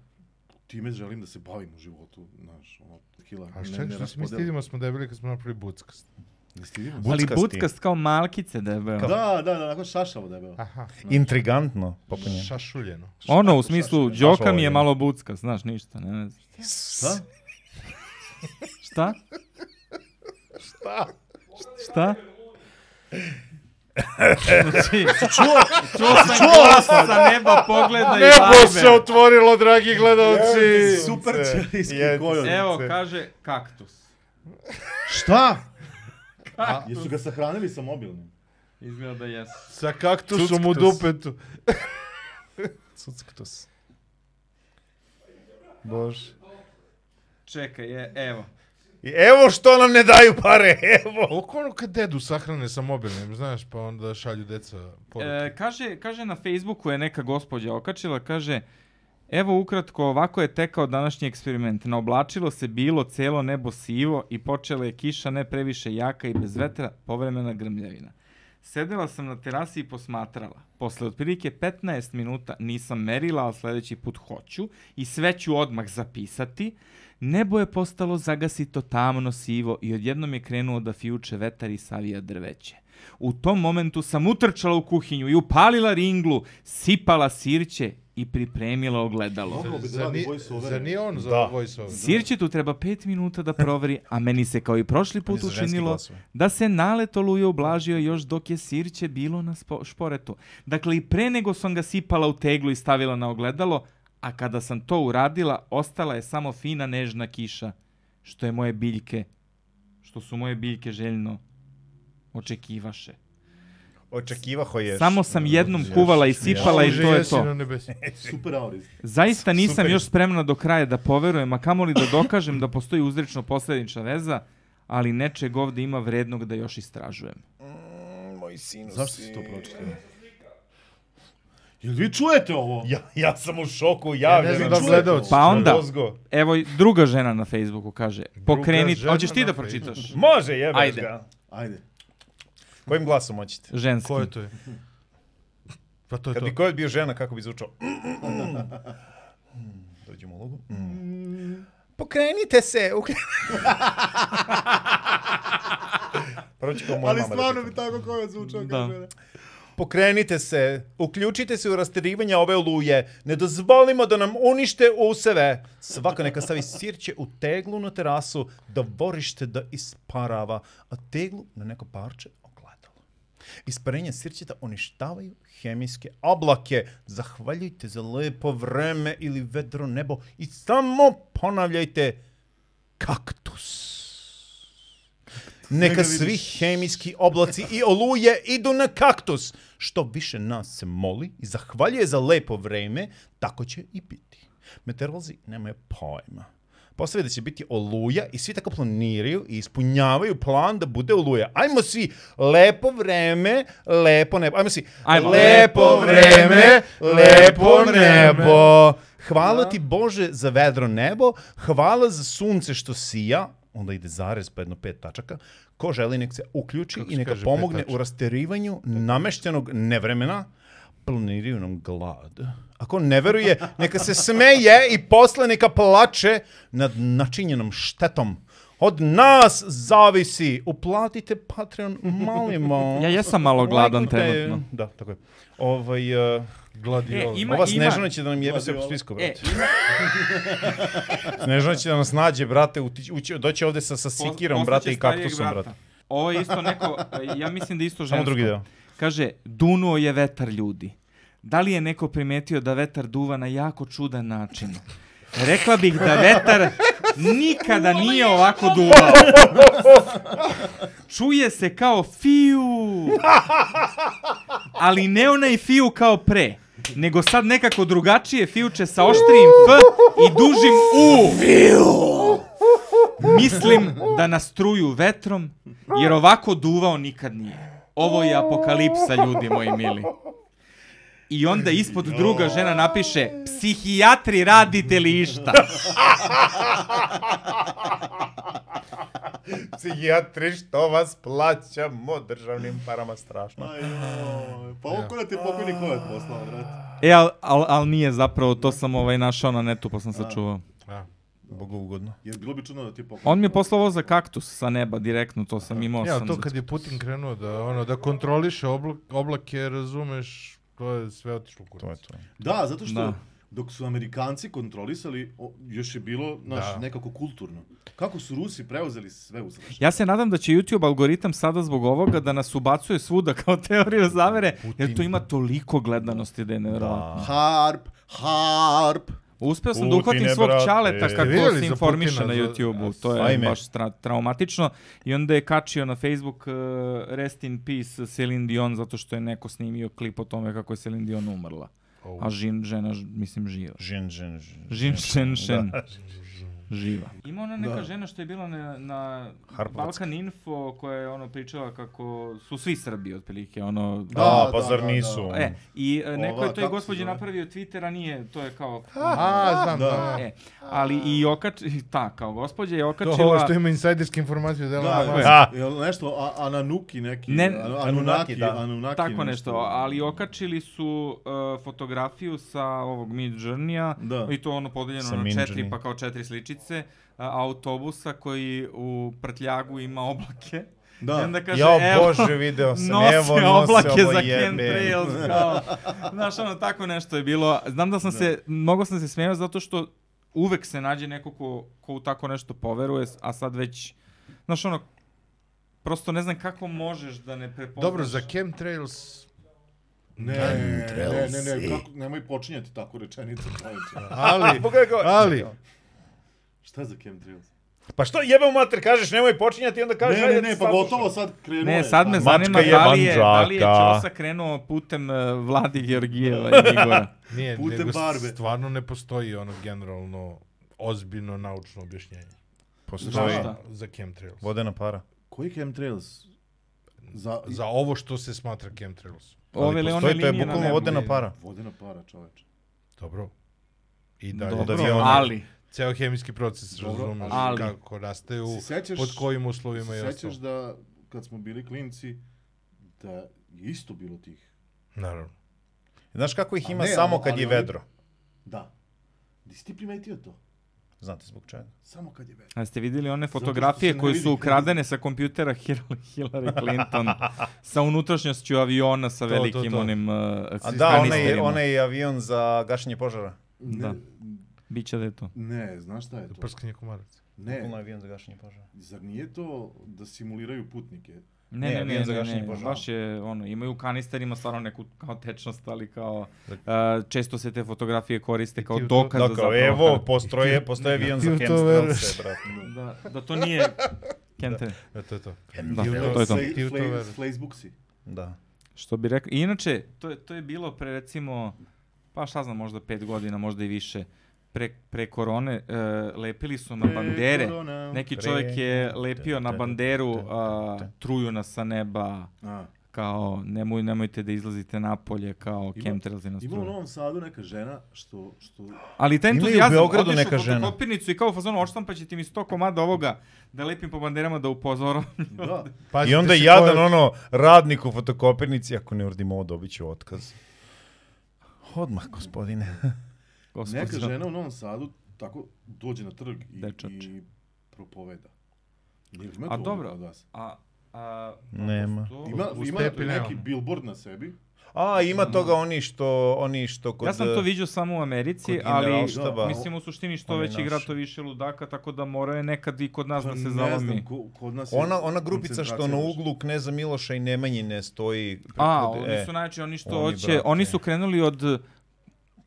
time želim da se bavim u životu, znaš, ono, hila, A šta, šta se mi stidimo smo debeli kad smo napravili buckast? Ne stidimo se? Bu- Ali Buckasti. buckast kao malkice debeo. Da. Da, da, da, nakon šašavo debelo. Aha. Intrigantno. Popunje. Šašuljeno. Ono, u smislu, šta- Đoka mi je šta- malo bucka, znaš, ništa, ne, ne znam. Šta? Šta? Šta? Šta? <laughs> Znači, čuo, čuo sam glas sa neba pogleda i Nebo se vibe. otvorilo, dragi gledalci! Super čelijski Jevite se. kojom. Evo, kaže kaktus. Šta? A, <laughs> jesu ga sahranili sa mobilnim? Izgleda da jesu. Sa kaktusom u Cucktus. dupetu. Cucktus. Bože. Čekaj, je, evo. E, I evo što nam ne daju pare, evo. Oko ono kad dedu sahrane sa mobilnim, znaš, pa onda šalju deca poruke. E, kaže, kaže na Facebooku je neka gospođa okačila, kaže Evo ukratko, ovako je tekao današnji eksperiment. Naoblačilo se bilo celo nebo sivo i počela je kiša ne previše jaka i bez vetra, povremena grmljavina. Sedela sam na terasi i posmatrala. Posle otprilike 15 minuta nisam merila, ali sljedeći put hoću i sve ću odmah zapisati. Nebo je postalo zagasito tamno sivo i odjednom je krenuo da fijuče vetar i savija drveće. U tom momentu sam utrčala u kuhinju i upalila ringlu, sipala sirće i pripremila ogledalo. Mogao bi da Zar radi ni- voice-over. Zar nije on za Da. voice-over? Sirće tu treba 5 minuta da proveri, a meni se kao i prošli put su ženski učinilo glasovi. da se nalet oluje ublažio još dok je sirće bilo na spo- šporetu. Dakle, i pre nego sam ga sipala u teglu i stavila na ogledalo, a kada sam to uradila, ostala je samo fina nežna kiša, što je moje biljke, što su moje biljke željno očekivaše. Očekivaho je. Samo sam jednom kuvala i sipala i Bože, to je jesi to. na <laughs> nebesi. Super auris. Zaista nisam Super. još spremna do kraja da poverujem, a kamoli da dokažem da postoji uzrečno posljedična veza, ali nečeg ovdje ima vrednog da još istražujem. Moj sinus. Zašto si to pročitao? Jel vi čujete ovo? Ja, ja sam u šoku, ja, Ja ne znam da čujete gledalci. Pa onda, Mozgo. evo i druga žena na Facebooku kaže, pokreni, žena hoćeš ti na da Facebooku. pročitaš? Može, jebeš Ajde. ga. Ajde. Kojim glasom hoćete? Ženski. Ko je to je? Pa to je Kad to. bi ko bio žena, kako bi zvučao? Mm. Dođemo u ulogu. Pokrenite se! <laughs> Prvo ću kao moja mama da pitam. tako koja zvučao Da. Pokrenite se, uključite se u rasterivanje ove oluje, ne dozvolimo da nam unište useve. Svako neka stavi sirće u teglu na terasu da vorište da isparava, a teglu na neko parče ogledalo. Isparenje sirćeta uništavaju hemijske oblake. Zahvaljujte za lepo vreme ili vedro nebo i samo ponavljajte kaktus. Neka svi hemijski oblaci i oluje idu na kaktus. Što više nas se moli i zahvaljuje za lepo vreme, tako će i biti. Meteorolozi nemaju pojma. Postavi da će biti oluja i svi tako planiraju i ispunjavaju plan da bude oluja. Ajmo svi, lepo vreme, lepo nebo. Ajmo svi, Ajmo. lepo vreme, lepo nebo. Hvala ti Bože za vedro nebo, hvala za sunce što sija, onda ide zarez pa jedno pet tačaka. Ko želi nek se uključi Kako i se neka kaže pet pomogne tačaka? u rasterivanju nameštenog nevremena. Planiraju nam glad. Ako ne veruje, neka se smeje i posle neka plače nad načinjenom štetom. Od nas zavisi. Uplatite Patreon, malimo. <laughs> Ja jesam malo gladan Lajkujte. trenutno. Da, tako ovaj je. Ovaj, uh, Gladiol. E, ima- ova Snežana će da nam jebe sve po Gladiola. spisku, E, brate. Snežana će da nas nađe, brate, utići, ući, doći ovde sa, sa poz- sikirom, poznaće brate, i starijeg kaktusom, brate. Ovo je isto neko, e, ja mislim da je isto žensko. Samo drugi deo. Kaže, dunuo je vetar ljudi. Da li je neko primetio da vetar duva na jako čudan način? Rekla bih da vetar nikada nije ovako duvao. Čuje se kao fiu. Ali ne onaj fiu kao pre. Nego sad nekako drugačije fiuče sa oštrijim f i dužim u. Mislim da nas truju vetrom, jer ovako duvao nikad nije. Ovo je apokalipsa, ljudi moji mili. I onda ispod druga žena napiše Psihijatri radite li išta? Psihijatri što vas plaćamo državnim parama strašno. Ajoj, pa ovo kod te pokojni kod poslao, brate. E, al, al, al nije zapravo, to sam ovaj našao na netu pa sam sačuvao. A, Bogu ugodno. Jer bilo bi čudno da ti je pokojni. On mi je poslao ovo za kaktus sa neba direktno, to sam imao Ja, sam. to kad je Putin krenuo da, ono, da kontroliše oblak, oblake, razumeš, to je sve otišlo u kurac. To je to. Da, zato što Da. dok su Amerikanci kontrolisali, o, još je bilo naš, Da. nekako kulturno. Kako su Rusi preuzeli sve u sraš? Ja se nadam da će YouTube algoritam sada zbog ovoga da nas ubacuje svuda kao <laughs> teoriju zavere, jer to ima toliko gledanosti da je nevjerovatno. Harp, harp. Uspeo sam da Putine, uhvatim svog brate. čaleta Ste kako vidjeli se za informiše na Putina za- YouTube-u. To je Ajme. baš tra traumatično. I onda je kačio na Facebook uh, Rest in Peace Celine Dion zato što je neko snimio klip o tome kako je Celine Dion umrla. Oh. A žin, žena, ž- mislim, živa. Žen, žen, žen. Žin, šen, šen. Živa. Ima ona neka žena što je bila na, na Harpovac. Balkan Info koja je ono pričala kako su svi Srbi otprilike. Ono, Da, Da, pa da, zar da, nisu? da. E, i e, neko Ova, je toj kako se gospođi zove? napravio Twitter, a nije, to je kao... A, znam, Da. da. da. E, ali i okač, <laughs> i ta, kao gospođa je To ovo okačila... što ima insajderske informacije, da, Da, da, je, da. jel nešto, a, Ananuki neki, Ne- An- Anunnaki, Anunaki, da. Anunaki. Tako nešto, ali okačili su uh, fotografiju sa ovog Mid Journey-a Da. i to ono podeljeno Sa na Mid četiri, Journey. pa kao četiri sličice, uh, autobusa koji u prtljagu ima oblake. Da. I onda kaže, Jao evo, Bože, video sam, nose evo nose oblake ovo za jebe. chemtrails, kao, znaš, ono, tako nešto je bilo. Znam da sam se, mnogo sam se smijao zato što uvek se nađe neko ko, ko u tako nešto poveruje, a sad već, znaš, ono, prosto ne znam kako možeš da ne prepoznaš. Dobro, za chemtrails... Ne, ne, ne, ne, kako, nemoj počinjati tako rečenicu. čoveče. Ali, ali, Šta je za chemtrails? Pa što jebe u mater, kažeš nemoj počinjati i onda kažeš... Ne, ne, ajde, ne, sad pa slušaj. gotovo sad krenuo Ne, je, sad me pa- zanima je da li je, da li je vandžaka. Ćosa krenuo putem eh, Vladi Georgijeva i Igora. nije, Putem nego s- barbe. stvarno ne postoji ono generalno ozbiljno naučno objašnjenje. Postoji. Šta? Za chemtrails. Vodena para. Koji chemtrails? Za, Za ovo što se smatra chemtrails. Ove Ali ili one postoji, to linije je na bukvalno nebu. vodena je. para. Vodena para, čoveče. Dobro. I dalje. Dobro, da je ono- ali, Ceo hemijski proces, Dobro, razumeš, ali- kako rasteju, Se sećaš- pod kojim uslovima i Sećaš ostalo. da kad smo bili klinci, da je isto bilo tih. Naravno. Znaš kako ih A ima ne, samo ali- kad je ali- vedro? Da. Di si ti primetio to? Znate zbog čega? Samo kad je vedro. a ste vidjeli one što se fotografije ne koje vidi su knjiga. ukradene sa kompjutera <laughs> Hil- Hillary Clinton sa unutrašnjošću aviona sa to, velikim to. onim uh, A kanisterima? da, onaj, onaj avion za gašenje požara. Ne, Da. Biće da je to. ne, znaš šta je to? Prskanje komaraca. Ne, Onaj avion za gašenje požara. zar nije to da simuliraju putnike? Ne, ne, ne, avion za ne, gašenje ne, požara. baš je, ono, imaju kanister, ima stvarno neku kao tečnost, ali kao, uh, često se te fotografije koriste kao ti u to- dokaz da, Da, kao, zapravo, evo, postroje, postoje avion ti za u to veruješ. hamstrelce, brate. da, da to nije, kente, E, to je to. da, Evo, to je to. Fle- Ti u to Fle- veruješ. Facebook si. Da. Što bi rekao, inače, to je, to je bilo pre recimo, pa šta znam, možda pet godina, možda i više, pre, pre korone, e, lepili su na bandere, Korona. neki Pre- čovjek je lepio na banderu a, da. truju nas sa neba, A, kao nemoj, nemojte da izlazite napolje, kao Ima- chemtrails i nas Ima ono- u truju. Novom Sadu neka žena što, što Ali taj Ima i u entuzijazam, Beogradu odeš neka u žena. fotokopirnicu i kao u fazonu, pa ćete mi sto komada ovoga da lepim po banderama da upozoram. <laughs> da, Pazite I onda se jadan koje- ono radnik u fotokopirnici, ako ne urdim ovo, dobit ću otkaz. Odmah, gospodine. Gospodin. neka žena u Novom Sadu tako dođe na trg i, Dečače. i propoveda. Jel Ima A to dobro. kod vas? A, a, Nema. to- Ima, U ima stepi neki nemamo. billboard na sebi. A, ima toga oni što, oni što kod... eh, e, ja sam to vidio samo u Americi, kod ali Generalštaba. mislim u suštini što Oni veći naši. grad to više ludaka, tako da moraju nekad i kod nas da se Pa ne zalomi. znam, ko, kod nas je Ona, ona grupica što na koncentracija baš- uglu Kneza Miloša i Nemanjine stoji... A, pred- oni e, su najče, oni što oni, hoće, brate. oni su krenuli od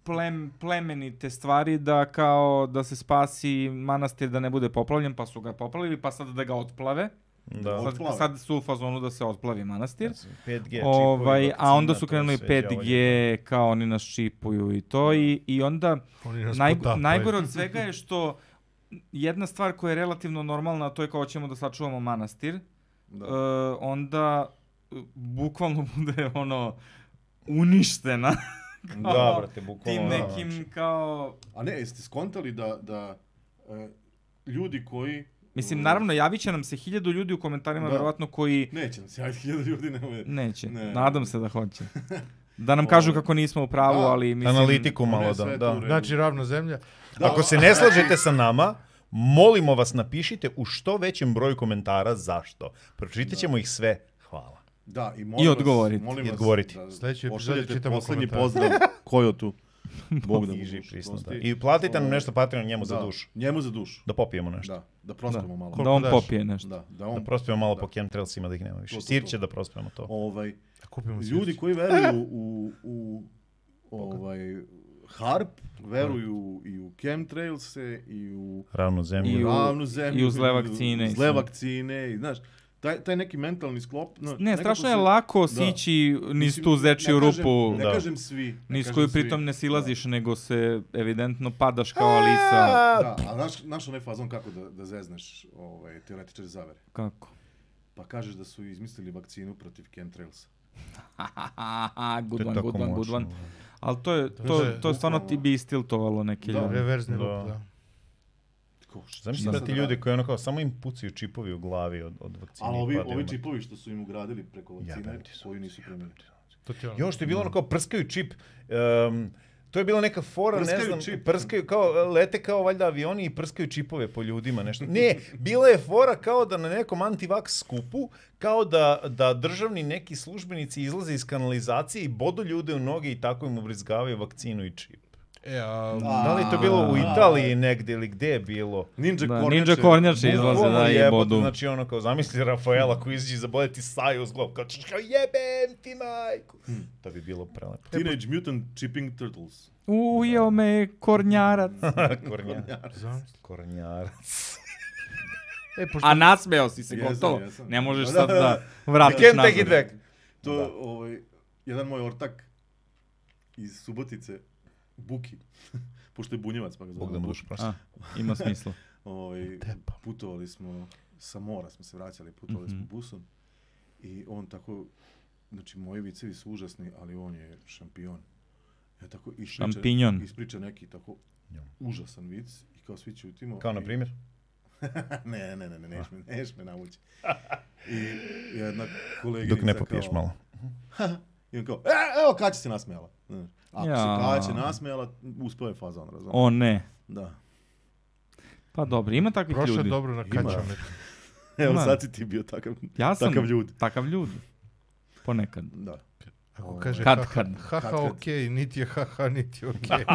plem, plemenite stvari da kao da se spasi manastir da ne bude poplavljen, pa su ga poplavili, pa sad da ga otplave. Da. Sad, Otplave. sad su u fazonu da se otplavi manastir. 5G čipovi, Ovaj, a onda vakcina, su to krenuli sve ovaj đavolje. 5G, kao oni nas šipuju i to, i, i onda Oni nas Naj, potapaju. najgore od svega je što jedna stvar koja je relativno normalna, a to je kao ćemo da sačuvamo manastir, e, Da. onda e, bukvalno <laughs> bude ono <laughs> uništena Da, brate, bukvalno. tim ono, znači. nekim kao... A ne, jeste skontali da, da e, ljudi koji... Mislim, naravno, javit će nam se hiljadu ljudi u komentarima, Da. verovatno, koji Neće nam se javiti hiljada ljudi, nemoj. neće. Ne. Nadam se da <laughs> hoće. Da nam kažu Ovo. kako nismo u pravu, Da. ali mislim... Analitiku Ne, malo sve da, je da. tu u redu. Znači ravna zemlja. Da, Ako se ne slažete sa nama, molimo vas napišite u što većem broju komentara zašto. Pročitat ćemo ih sve. Hvala. Da, i molim I vas- odgovoriti. Molim I vas odgovoriti. da Sljedeću epizodu pošaljete čitamo Poslednji komentare. <laughs> pozdrav Kojotu. Bog da mu Iži dušu prisno, da. prosti. I platite nam Ovaj, nešto Patreon njemu da, za dušu. Njemu za dušu. Da popijemo nešto. Da, da prospamo malo. Da on daš? popije nešto. Da, da Da on prospemo malo po chemtrailsima da ih nema To, više. to, to. Sirće da prospemo to. ovaj Da Kupimo ljudi koji veruju u u ovaj harp, veruju i u chemtrailse i u Ravnu zemlju. I u- ravnu zemlju. i u zle vakcine i Zle sve. vakcine i znaš, taj, taj neki mentalni sklop. no, Ne, nekako strašno se- je lako da. sići niz Mislim, tu ne zečiju kažem- rupu. Ne Da. kažem svi. ne Niz kažem koju svi. pritom ne silaziš, nego se evidentno padaš kao Alisa. Da, a znaš, znaš onaj fazon kako da, da zezneš ovaj, teoretičar zavere? Kako? Pa kažeš da su izmislili vakcinu protiv chemtrailsa. Aha, To good je one, tako good one, good moćno. one. Ali to je, to, je to je stvarno ti bukvalno- bi istiltovalo neke Da, ljude. Reverzni Da. lup, da. Ko, šta Zamisli sad da ti radi? ljudi koji ono kao samo im pucaju čipovi u glavi od, od vakcine. Ali i ovi, padaju ovi na- čipovi što su im ugradili preko vakcine, Jebem ti sunce, koju nisu primili. To ti je ono. Još ti je bilo ono kao prskaju čip. Um, to je bila neka fora, ne Prskaju znam, čip. prskaju kao, lete kao valjda avioni i prskaju čipove po ljudima, nešto. Ne, bila je fora kao da na nekom antivaks skupu, kao da, da državni neki službenici izlaze iz kanalizacije i bodu ljude u noge i tako im ubrizgavaju vakcinu i čip. E, a, Da li je to bilo u Italiji negdje ili gde je bilo? Ninja Da, Kornjače. Ninja Kornjače izlaze Bukvalno da i jebote, bodu. Znači ono kao zamisli Rafaela koji izađe za bolje ti saje uz glavu. Kao, čuš, kao jebem ti majku. To bi bilo prelepo. Teenage Mutant Chipping Turtles. Ujeo me kornjarac. Kornjar. zamisli. Kornjarac. E, <laughs> pošto A nasmeo si se, Jesam, gotovo. jesam. Ne možeš Da, sad da, da. da vratiš Can't take it nazad. back. To je Da. ovaj, jedan moj ortak iz Subotice, Buki, <laughs> pošto je bunjevac, pa ga Bog zove da mu Buki. dušu prosti. A, ima smisla. E, Ovaj, pa. Tepa. putovali smo sa mora, smo se vraćali, putovali Mhm. smo busom i on tako, znači moji vicevi su užasni, ali on je šampion. Ja tako ispriča, Šampinjon. ispriča neki tako Ja. užasan vic i kao svi ćutimo. Kao na i- primjer. <laughs> ne, ne, ne, ne, neš me, neš me navući. I jedna koleginica Dok ne popiješ kao, malo. I on kao, e, evo Kaća se nasmejala. Znaš, Ako Ja. se Kaća nasmejala, uspeo je fazon, razumiješ? <laughs> O ne. Da. <laughs> Pa dobro, ima takvih prošle ljudi. dobro na kačamet. Evo Ma. sad si ti bio takav, Ja sam takav ljudi. Takav ljudi. Ponekad. Da. Ako kaže Kad, haha, kad. haha, Kad, kad. okej, niti je haha, niti je okej. <laughs>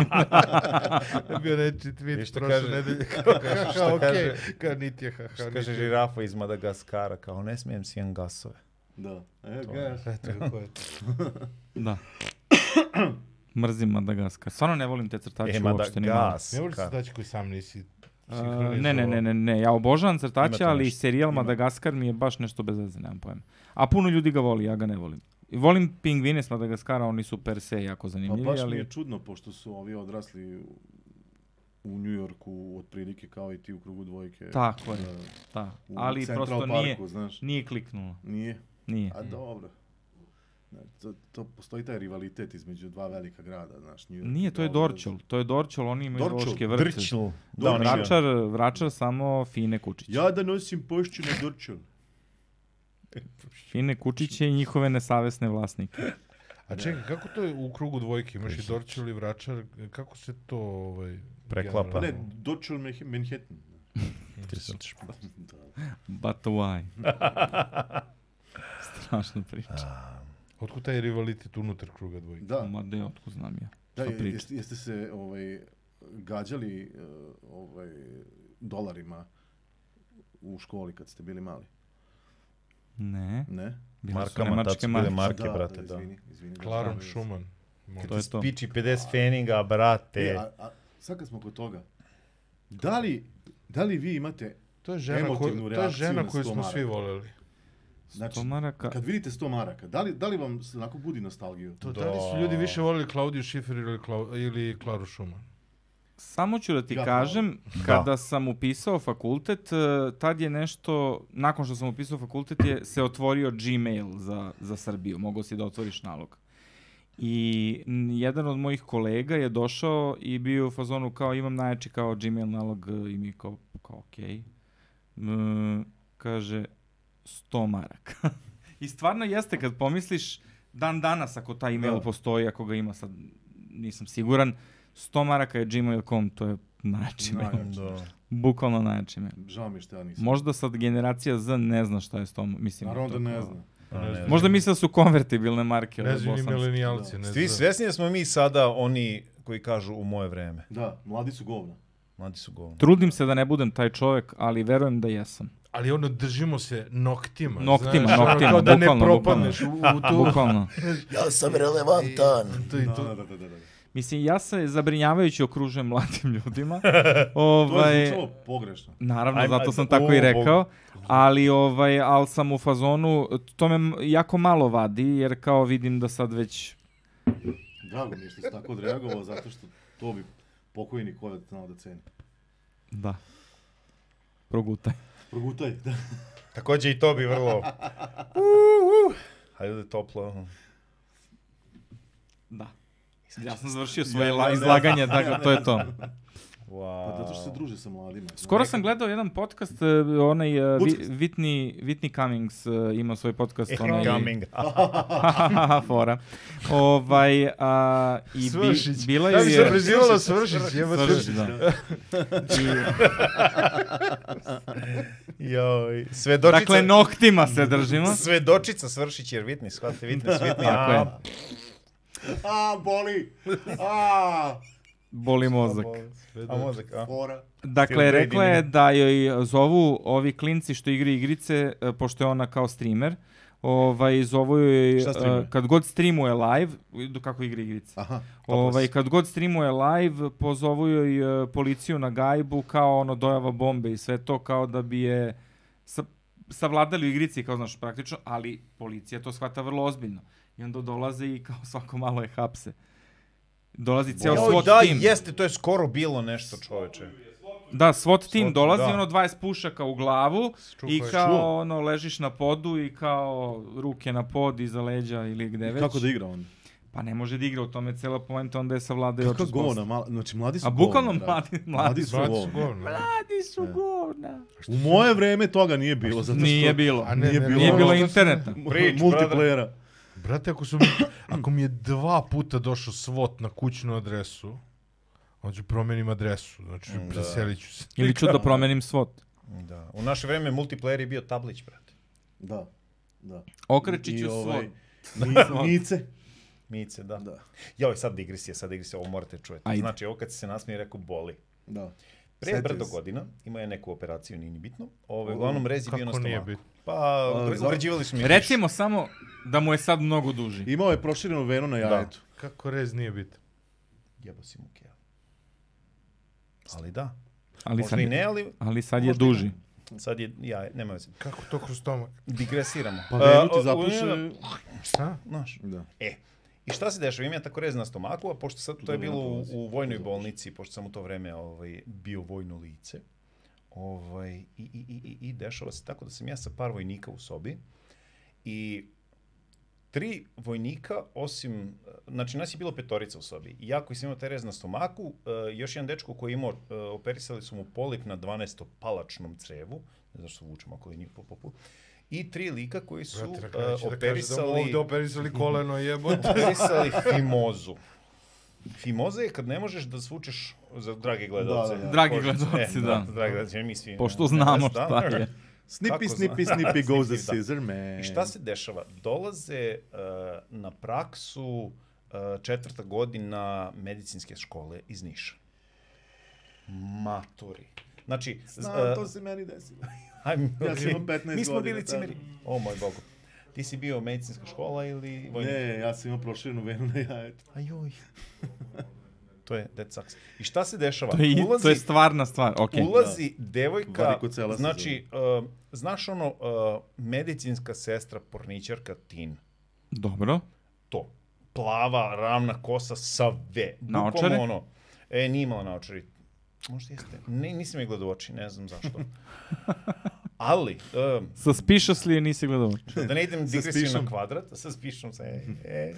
Okay. Bio reći Viš tweet što prošle kaže- nedelje, <laughs> kao haha, što okej, kaže- kad niti je haha, Što kaže niti je žirafa iz Madagaskara, kao ne smijem si gasove. Da. E, gaš. Eto kako je. Da. Mrzim Madagaskar. Stvarno ne volim te crtače E, uopšte. ni malo. Madagas. Ne voliš se daći koji sam nisi A, Ne, ne, ne, ne, ne, ja obožavam crtače, Ima tu ali nešto. serijal Madagaskar mi je baš nešto bez veze, nemam pojma. A puno ljudi ga voli, ja ga ne volim. I Volim pingvine s Madagaskara, oni su per se jako Pa zanimljivi, baš mi ali je čudno, pošto su ovi odrasli u- u New Yorku otprilike kao i ti u krugu dvojke. Tako je. Da, ta. u Ali Central prosto Parku, nije, Mhm. znaš. nije kliknulo. Nije. Nije. A dobro. Ne, to, to postoji taj rivalitet između dva velika grada, znaš, New York. i Nije, to je Beograd. Dorčol. To je Dorčol, oni imaju Dorćol, Dorčol, vrce. Drčl. Da, Da, oni Vračar. igraju. Vračar, vračar samo fine kučiće. Ja da nosim pošću na Dorčol. Fine kučiće i njihove nesavesne vlasnike. A čekaj, kako to je u krugu dvojke? Imaš i Dorčel i Vračar, kako se to ovaj, Preklapa. Pa generalno- ne, Dorčol Manh- Manhattan. Ti se otiš. Da. But <laughs> why? Strašna priča. Otkud taj rivalitet unutar kruga dvojke? Da, Ma de, otko znam ja. da Šta priča? jeste, jeste se ovaj, gađali eh, ovaj, dolarima u školi kad ste bili mali, Ne, ne? bile su Markama, tad nemačke su bile marke. Marke, brate, da. Izvini, izvini. Klarom Da, Šuman. Molim. To je to. Piči 50 feninga, E, brate. a, a, sad kad smo kod toga, da li, da li vi imate, To je žena, ko, emotivnu to je reakciju žena na koju smo stomarak. svi voleli. znači, To maraka. kad vidite 100 maraka, da li, da li vam se onako budi nostalgiju? To, da. Da. li su ljudi više voleli Klaudiju Šifer ili, Klau, ili Klaru Šuman? Samo ću da ti Ja, kažem, Da. kada sam upisao fakultet, eh, tad je nešto, nakon što sam upisao fakultet, je se otvorio Gmail za, za Srbiju. Mogao si da otvoriš nalog. I n- jedan od mojih kolega je došao i bio u fazonu kao imam najjači kao Gmail nalog eh, i mi kao, kao okej. Okay. kaže 100 maraka. I stvarno jeste kad pomisliš dan danas ako taj email Da. postoji, ako ga ima sad nisam siguran, 100 maraka je gmail.com, to je najjači mail. Najjači. Da. Bukvalno najjači mail. Žao mi je što ja nisam. Možda sad generacija Z ne zna šta je 100, mislim. Naravno da to ne kao- znam. A, ne znam. Možda misle da su konvertibilne marke. Ne ali znam ni bosanske. milenijalci, ne Svi znam. svjesni E, da smo mi sada oni koji kažu u moje vreme. Da, mladi su govna. Mladi su govno. Trudim se da ne budem taj čovjek, ali verujem da jesam. Ali ono, držimo se noktima. Noktima, znaš, ono, noktima, kao da ne bukvalno, propadneš u, u tu. Bukvalno. Ja sam relevantan. to i Da, to. da, da, da. da. Mislim, ja se zabrinjavajući okružujem mladim <laughs> ljudima. To je ovaj, zvučalo pogrešno. Naravno, Ajme, zato sam o, tako Bog. i rekao, ali ovaj al sam u fazonu to me m- jako malo vadi jer kao vidim da sad već Drago mi je što si tako odreagovao, zato što to bi pokojni kodat znao da ceni. da progutaj. Progutaj, da. Također i to bi vrlo... <laughs> Uh, uh. Hajde da je toplo. Da. Ja sam završio svoje Ja, la- ja ne izlaganje, dakle, to je to. Wow. Pa zato što se druže sa mladima. Skoro sam gledao jedan podcast, eh, onaj eh, Vi- Podcast. Whitney, Whitney Cummings eh, ima svoj podcast. Eh, onaj- <laughs> <laughs> coming. Ah, Fora. Ovaj, a, i bi, Svršić. bila Ja bi je... se prezivala Svršić, jebate. Svršić, da. I, Joj. Svedočica... dakle, noktima se držimo. Svedočica Svršić jer Vitni, shvate Vitni, Svitni. Tako je. A, boli! A, Boli mozak. A mozak, a? fora. Dakle, Still rekla Brady, ne? je da joj zovu ovi klinci što igri igrice, e, pošto je ona kao streamer, ovaj, zovu joj, Šta streamuje? e, kad god streamuje live, do kako igra igrice, Aha, ovaj, kad god streamuje live, pozovu joj e, policiju na gajbu kao ono dojava bombe i sve to kao da bi je sa, savladali u igrici, kao znaš, praktično, ali policija to shvata vrlo ozbiljno. I onda dolaze i kao svako malo je hapse. Dolazi ceo Joj, SWAT da, tim. jeste, to je skoro bilo nešto, čoveče. Da, SWAT tim SWAT, dolazi, da. ono 20 pušaka u glavu Čuo i ko je kao čuo. ono ležiš na podu i kao ruke na pod iza leđa ili gde već. kako da igra on? Pa ne može da igra u tome je cela poenta, onda je savladao i Kako očas govna, mala, znači mladi su A bukvalno govna, mladi, brate. mladi, su Mladi su govna. govna. mladi su govna. U moje vreme toga nije bilo, zato što... Nije bilo. A Nije bilo. Nije ono bilo ono- interneta. Preach, multiplayera. Brate, ako, su mi, ako mi je dva puta došao svot na kućnu adresu, onda ću promenim adresu, znači Mm, Da. preselit ću se. Ili ću da promenim svot. Da. U naše vreme multiplayer je bio tablić, brate. Da, da. Okrećit I ću ovaj, svot. ni- Nice. Mice, da. Da, Joj, sad digresija, sad digresija, ovo morate čujeti. Ajde. Znači, ovo kad si se nasmije, rekao, boli. da. Pre Sjetio brdo se. godina, imao je neku operaciju, nije ni bitno. Ove, uglavnom rez je bio na Kako nije stomaku. bitno? Pa, A, za- ugrađivali su mi mišić. Recimo samo da mu je sad mnogo duži. Imao je proširenu venu na jajetu. Kako rez nije biti? Jebo si mu keo. Ali da. Ali sad, Možda i ne, ali ali sad je možda i ne. duži. sad je, ja, nema veze. Kako to kroz stomak? Digresiramo. Pa venu E, o- ti zapuše... u- Šta? Znaš, Da. E, i šta se dešava? Imam ja tako rez na stomaku, a pošto sad to je bilo u, u vojnoj bolnici, pošto sam u to vreme ovaj, bio vojno lice, ovaj, i, i, i, i, i dešava se tako da sam ja sa par vojnika u sobi i tri vojnika, osim, eh, znači nas je bilo petorica u sobi. I ja koji sam imao taj rez na stomaku, eh, još jedan dečko koji je imao, eh, operisali su mu polip na 12-palačnom crevu, ne znam što vučem ako je njih po popu, i tri lika koji su Brate, na Brate, kraju će da kaže da mu operisali ovdje operisali koleno jebote. operisali fimozu. Fimoza je kad ne možeš da svučeš za drage gledalce. Da, da, da. Dragi Kožicu. gledalci, E, da. Dragi gledalci, mi svi. E, Pošto znamo Da, šta je. Snippy, zna- snippy, snippy goes the Snippy, da. scissor, man. I šta se dešava? Dolaze uh, na praksu uh, četvrta godina medicinske škole iz Niša. Matori. Znači, z- Znam, e, No, <laughs> to se meni desilo. ajme, Ja sam okej. imao 15 Mi smo godina, bili da. cimeri. O moj bogu. Ti si bio medicinska škola ili vojnik? Ne, ja sam imao proširenu <laughs> venu na jajetu. Ajoj. <laughs> to je dead sucks. I šta se dešava? To je, to je stvarna stvar. Okay. ulazi devojka, Varikocela se znači, uh, znaš ono, uh, medicinska sestra, porničarka, tin. Dobro. To. Plava, ravna kosa, sa V. Bukvalno Naočare? Ono, e, nije imala naočari. Možda jeste. Ne, nisam je gledao u oči, ne znam zašto. <laughs> Ali, um, Sa Spicious li je nisi gledao? da ne <laughs> idem digresiju spišom. na kvadrat, sa spišom se, e, e.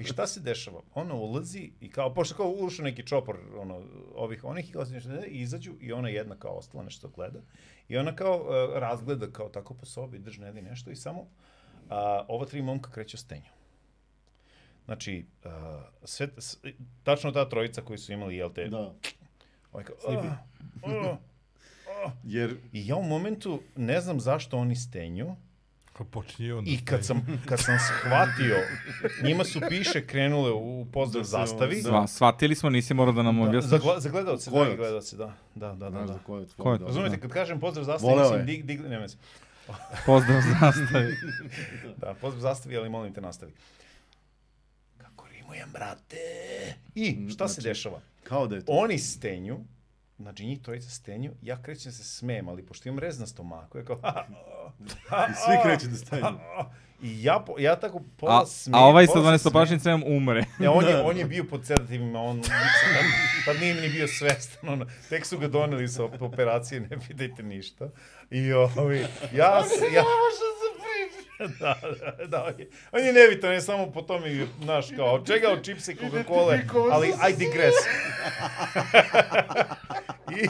I šta se dešava? Ona ulazi i kao, pošto kao ušao neki čopor ono, ovih onih i kao se nešto ne, i izađu i ona jedna kao ostala nešto gleda. I ona kao uh, razgleda kao tako po sobi, drži ne nešto i samo a, ova tri momka kreću stenju. Znači, uh, sve, s, tačno ta trojica koji su imali, jel te, Da. ovaj kao, Snipi. "Ah, ah." Jer I ja u momentu ne znam zašto oni stenju, Kako Pa počinje onda? I kad sam, kad sam shvatio, njima su piše krenule u pozdrav Da se ovo- zastavi. da. Sva, shvatili smo, nisi morao da nam Da, objasniš. za, gla, za gledalce, da, Kojac. gledalce, da. Da, da, da. Znaš da. za koje je tvoje Ko je- dobro. Razumete, kad kažem pozdrav zastavi, Voleo mislim je. dig, dig, ne mislim. Pozdrav zastavi. Da, pozdrav zastavi, ali molim te nastavi. Kako rimujem, brate? Mm, I, šta znači? se dešava? Kao da je to. Oni stenju, znači njih trojica stenju, ja krećem da se smijem, ali pošto imam rez na stomaku, ja kao, <laughs> I <laughs> svi kreću da stanju. I ja, po, ja tako pola A, smijem. a ovaj sa pola se 12 smijem. pašnim crevom umre. Ne, on je, on je bio pod sedativima, on tad nije ni bio svestan, ono, tek su ga doneli sa op- operacije, ne pitajte ništa. I ovi, ja, s- ja, da, da, da, on je, on je nebitan, on je samo po tome, i, znaš, kao, od čega, od čipsa i Coca-Cola, ali I digress. <laughs> I,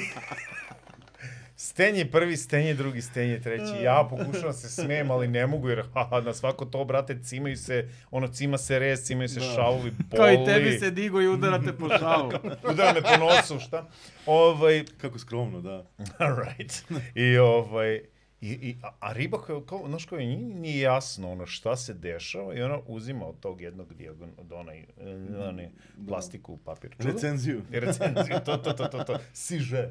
Stenje prvi, stenje drugi, stenje treći. Ja pokušavam se smijem, ali ne mogu jer haha, na svako to, brate, cimaju se, ono, cima se rez, cimaju se šavovi, boli. Kao i tebi se digo i udarate po šavu. Udara me po nosu, šta? <laughs> Ovaj, Kako skromno, da. right. I ovaj, I, i, a, a riba koja, kao, znaš, koja nije, nije jasno ono šta se dešava i ona uzima od tog jednog dijagon, od onaj, e, onaj plastiku u papir. čudo. Recenziju. I recenziju, to, to, to, to, to, siže.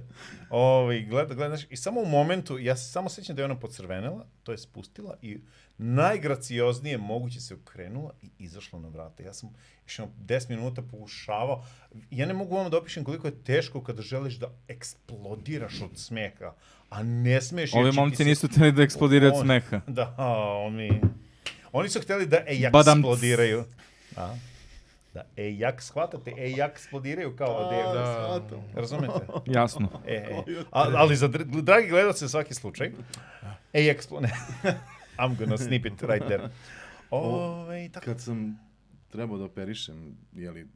Ovaj, gleda, gleda, znaš, i samo u momentu, ja se samo sjećam da je ona pocrvenela, to je spustila i najgracioznije moguće se okrenula i izašla na vrata. Ja sam još jedno 10 minuta pokušavao. Ja ne mogu vam da opišem koliko je teško kada želiš da eksplodiraš od smeha, a ne smiješ. jer Ovi će ti momci se- nisu htjeli da eksplodiraju od On- smeha. Da, oni... Oni su hteli da ejak Badam. eksplodiraju. A? Da ejak, shvatate, ejak eksplodiraju kao odjevno. Da. Razumete? Jasno. E, e. A, ali za dr dragi gledalce svaki slučaj. e, Ej, <laughs> eksplone. I'm gonna snip it right there. Ove, tako. Kad sam trebao da operišem, jeli,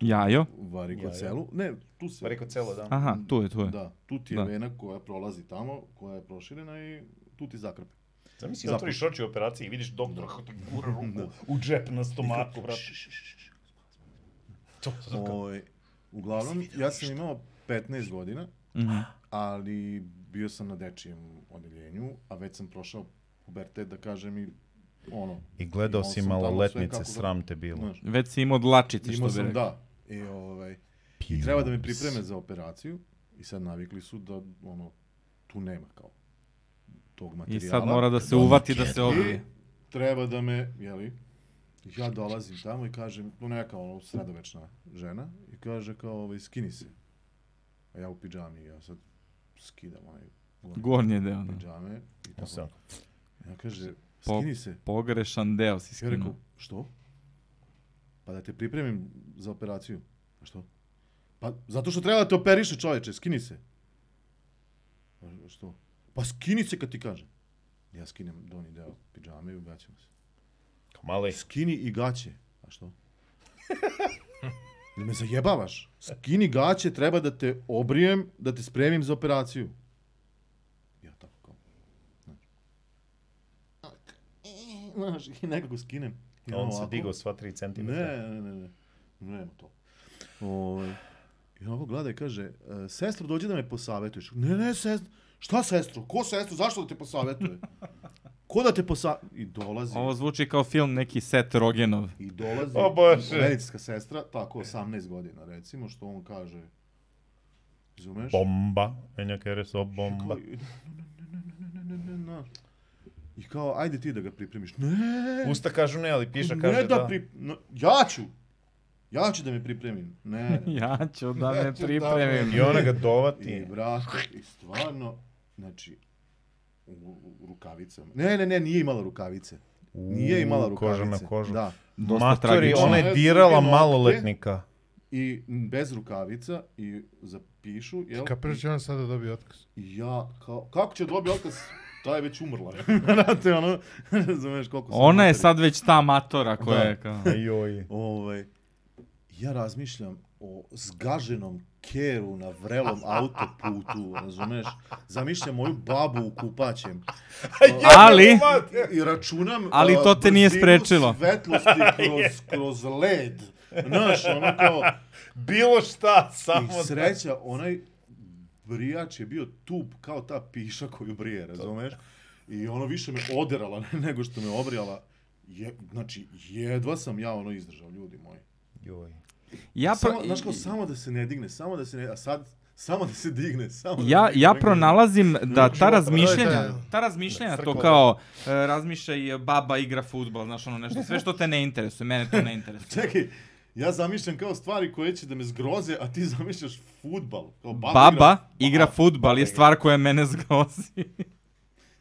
Jajo? varikocelu, ne, tu se... Rekao celo, da. Aha, tu je, tu je. Da, tu ti je Da. vena koja prolazi tamo, koja je proširena i tu ti zakrpe. Zamisli, otvoriš oči u operaciji i vidiš doktora kako ti gura ruku u džep na stomaku, brate. To, to, to, Ovaj, uglavnom, ja sam imao 15 godina, Mhm. ali bio sam na dečijem odeljenju, a već sam prošao pubertet, da kažem i ono, I gledao si Imao sam tamo maloletnice, sve kako ga- sram te bilo. znaš, Već si imao dlačice, što imao bi sam, rekao. da, i ovaj, i treba da me pripreme za operaciju i sad navikli su da, ono, tu nema kao tog I materijala. sad mora da se uvati da se I obrije. treba da me, jeli, ja dolazim tamo i kažem, tu neka ono sredovečna žena i kaže kao, ovaj, skini se. A ja u pidžami, ja sad skidam onaj gornji Gornje deo. Da. pidžame i tako. Sad. Ja kaže, Po- skini se. Pogrešan deo si Ja rekao, skinuo. što? Pa da te pripremim za operaciju. A što? Pa zato što treba da te operiše čoveče, skini se. Pa što? Pa skini se kad ti kažem. Ja skinem donji deo pidžame i ugaćam se. Mali, Skini i gaće. A što? Jel me zajebavaš? Skini gaće, treba da te obrijem, da te spremim za operaciju. Ja tako kao. znaš. Znaš, i nekako skinem. I ono on se ovako. digao sva 3 cm. Ne, ne, ne, ne. Nema to. Ovaj, I onako gleda i kaže, e, sestro, dođi da me posavjetuješ. Ne, ne, sestro. Šta sestro? Ko sestro? Zašto da te posavjetuje? Ko da te posavjetuje? I dolazi. Ovo zvuči kao film neki set Rogenov. I dolazi O Bože. medicinska sestra, tako 18 godina recimo, što on kaže, razumeš? Bomba. E, Enja Kereso, bomba. Kao, ne, ne, ne, ne, ne, ne, ne, ne. I kao, ajde ti da ga pripremiš. Ne, Usta kažu ne, ali piša ne kaže da, da. Pri... No, ja ću. Ja ću da me pripremim. Ne, <laughs> ne. Ja ću da Ja me ću da pripremim. I ona ga I dovati. brate, i stvarno, znači, u, u rukavicama. Ne, ne, ne, nije imala rukavice. Nije imala U, koža rukavice. na kožu. Da. Dosta Matori, tragično. ona Ona je je dirala druge nokte. maloletnika. I m, bez rukavica i zapišu, jel? Kapiraš će on sada dobije otkaz. I ja, kao, kako će dobiti otkaz? Ta je već <laughs> umrla. Znate, ono, <laughs> razumeš koliko sam Ona je mater. sad već ta matora koja Da. je kao... <laughs> Joj. Ovaj, ja razmišljam o zgaženom keru na <laughs> vrelom autoputu, razumeš? Zamišljam moju babu u kupaćem. Ali, I računam... Ali a, to te nije brzinu sprečilo. svetlosti <laughs> kroz, kroz led. Znaš, ono kao... Bilo šta, samo I sreća, onaj brijač je bio tub kao ta piša koju brije, razumeš? I ono više me oderala <laughs> nego što me obrijala. Je, znači, jedva sam ja ono izdržao, ljudi moji. Joj. ja, Samo, pro- znaš kao, samo da se ne digne, samo da se ne... A sad, samo da se digne, samo da ja, se digne. ja pronalazim da ta života, razmišljanja, brojka ta razmišljanja, to Crkva. kao e, razmišlja i baba igra futbol, znaš ono nešto, sve što te ne interesuje, mene to ne interesuje. Čekaj, ja zamišljam kao stvari koje će da me zgroze, a ti <laughs> zamišljaš futbal. Kao baba, Baba igra- igra futbal je igra. stvar koja mene zgrozi.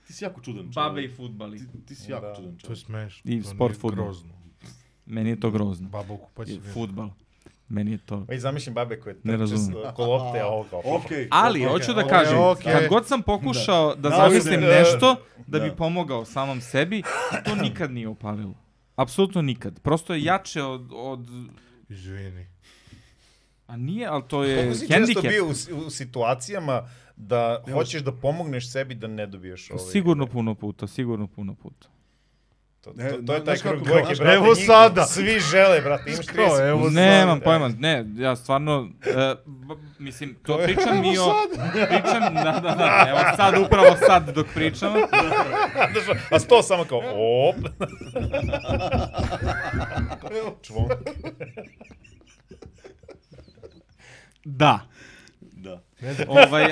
Ti si jako čudan čovjek. Babe i futbal. Ti, ti si jako Da. čudan To je čovjek. smešno. I to sport nije fudbal. Grozno. Meni je to grozno. Baba u kupaći. I Futbal. Meni je to... Već zamišljam babe koje Ne trče s- razumem. ko lopte, a ovo kao. Okej. Ali, okej, hoću da okej, kažem, okej. kad god sam pokušao da, Da, zamislim da. nešto da bi Da. pomogao samom sebi, to nikad nije upalilo. Apsolutno nikad. Prosto je jače od, od... Izvini. A nije, ali to je Kako si Pa često E, hendikep. bio u, si- u situacijama da Evo hoćeš da pomogneš sebi da ne dobiješ ovaj... Sigurno puno puta, sigurno puno puta. To, to, Ne, to je znaš taj kako, krug znaš dvojke, kako- brate. Evo njih sada. Svi žele, brate, imaš 30. evo Nemam pojma, ne, ja stvarno, e, b- mislim, to pričam i o, pričam, da, da, da, evo sad, upravo sad dok pričam, Znaš, a sto samo kao, op. Čvonk. da, Da. ovaj,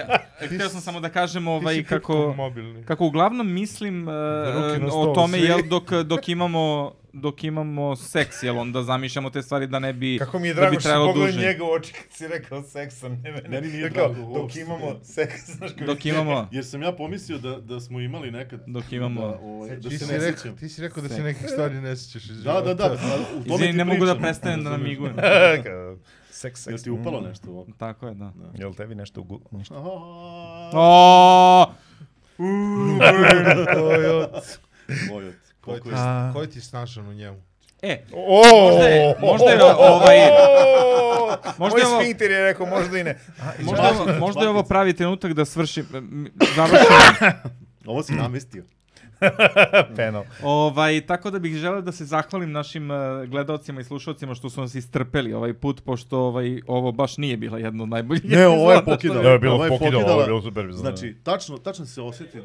htio sam samo da kažem, ovaj, kako, Mobilni. Kako uglavnom mislim uh, Ruke na o stolu, tome svi. jel dok dok imamo dok imamo seks jel onda zamišljamo te stvari da ne bi Kako mi je da drago bi što si trajalo pogledao duže. njega u oči kad si rekao seksa, ne mene. Meni nije Rekao, drago Dok uopšte. imamo seks, <laughs> <laughs> znaš kao... dok imamo Jer sam ja pomislio da, da smo imali nekad... Dok imamo- Da, ovaj, da Ti se si, ne rekao, sjećam. ti si rekao da se Sek. nekih stvari ne sjećaš iz Da, da, da. života. pa o tome Izvini, ti ne mogu da pričam, prestanem da razumeš? namigujem. Kao, Seks, seks. Jel ti upalo nešto <laughs> ovako? Tako je, da. Jel tebi nešto u gu- ništa? O, Mojot. Koji Koliko ti, je koji ti snašan u njemu? e, Možda je- možda je ovaj- Možda Možda je ovo- Moj sfinkter je rekao, možda i ne. <laughs> A, izvini. možda, je ovo- možda je ovo pravi trenutak da svršim, m, <laughs> završim Ovo si namestio. penal. Ovaj, tako da bih želeo da se zahvalim našim uh, gledalcima i slušalcima što su nas istrpeli ovaj put, pošto ovaj, ovo baš nije bila jedna od najboljih Ne, ovo je epizoda. pokidala. Da, je bilo Ovo je pokidalo, ovaj pokidala. ovo je bilo super. Znači, tačno, tačno se osjeti.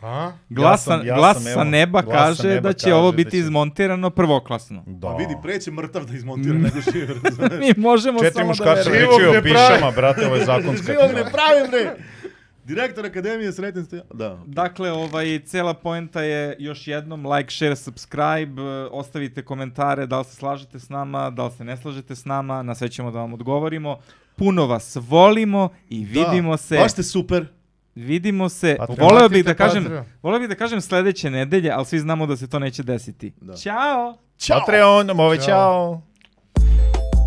A? Glas, Ja sam- sa- ja glas sam, sa evo, neba glas sa kaže neba da će ovo kaže da biti će- izmontirano prvoklasno. da. Pa vidi, preće mrtav da izmontira <laughs> nego živ. razumeš? Mi možemo Četiri samo da muškarca verujemo. pričaju Živog o ne pravi. pišama, brate, ovo je zakonska. Živog ne pravim, ne! Direktor Akademije Sreten Stojan. Da. Dakle, ovaj, cela poenta je još jednom like, share, subscribe, e, ostavite komentare da li se slažete s nama, da li se ne slažete s nama, na sve ćemo da vam odgovorimo. Puno vas volimo i vidimo da. se. Baš ste super. Vidimo se. Patreon. voleo bih da Platite kažem, Patreon. voleo bih da kažem sledeće nedelje, ali svi znamo da se to neće desiti. Da. Ćao. Ćao. Patreon, move Ćao. ovaj, ćao.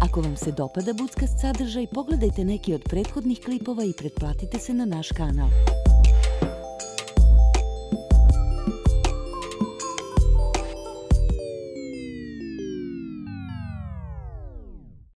Ako vam se dopada Budskast sadržaj, pogledajte neki od prethodnih klipova i pretplatite se na naš kanal.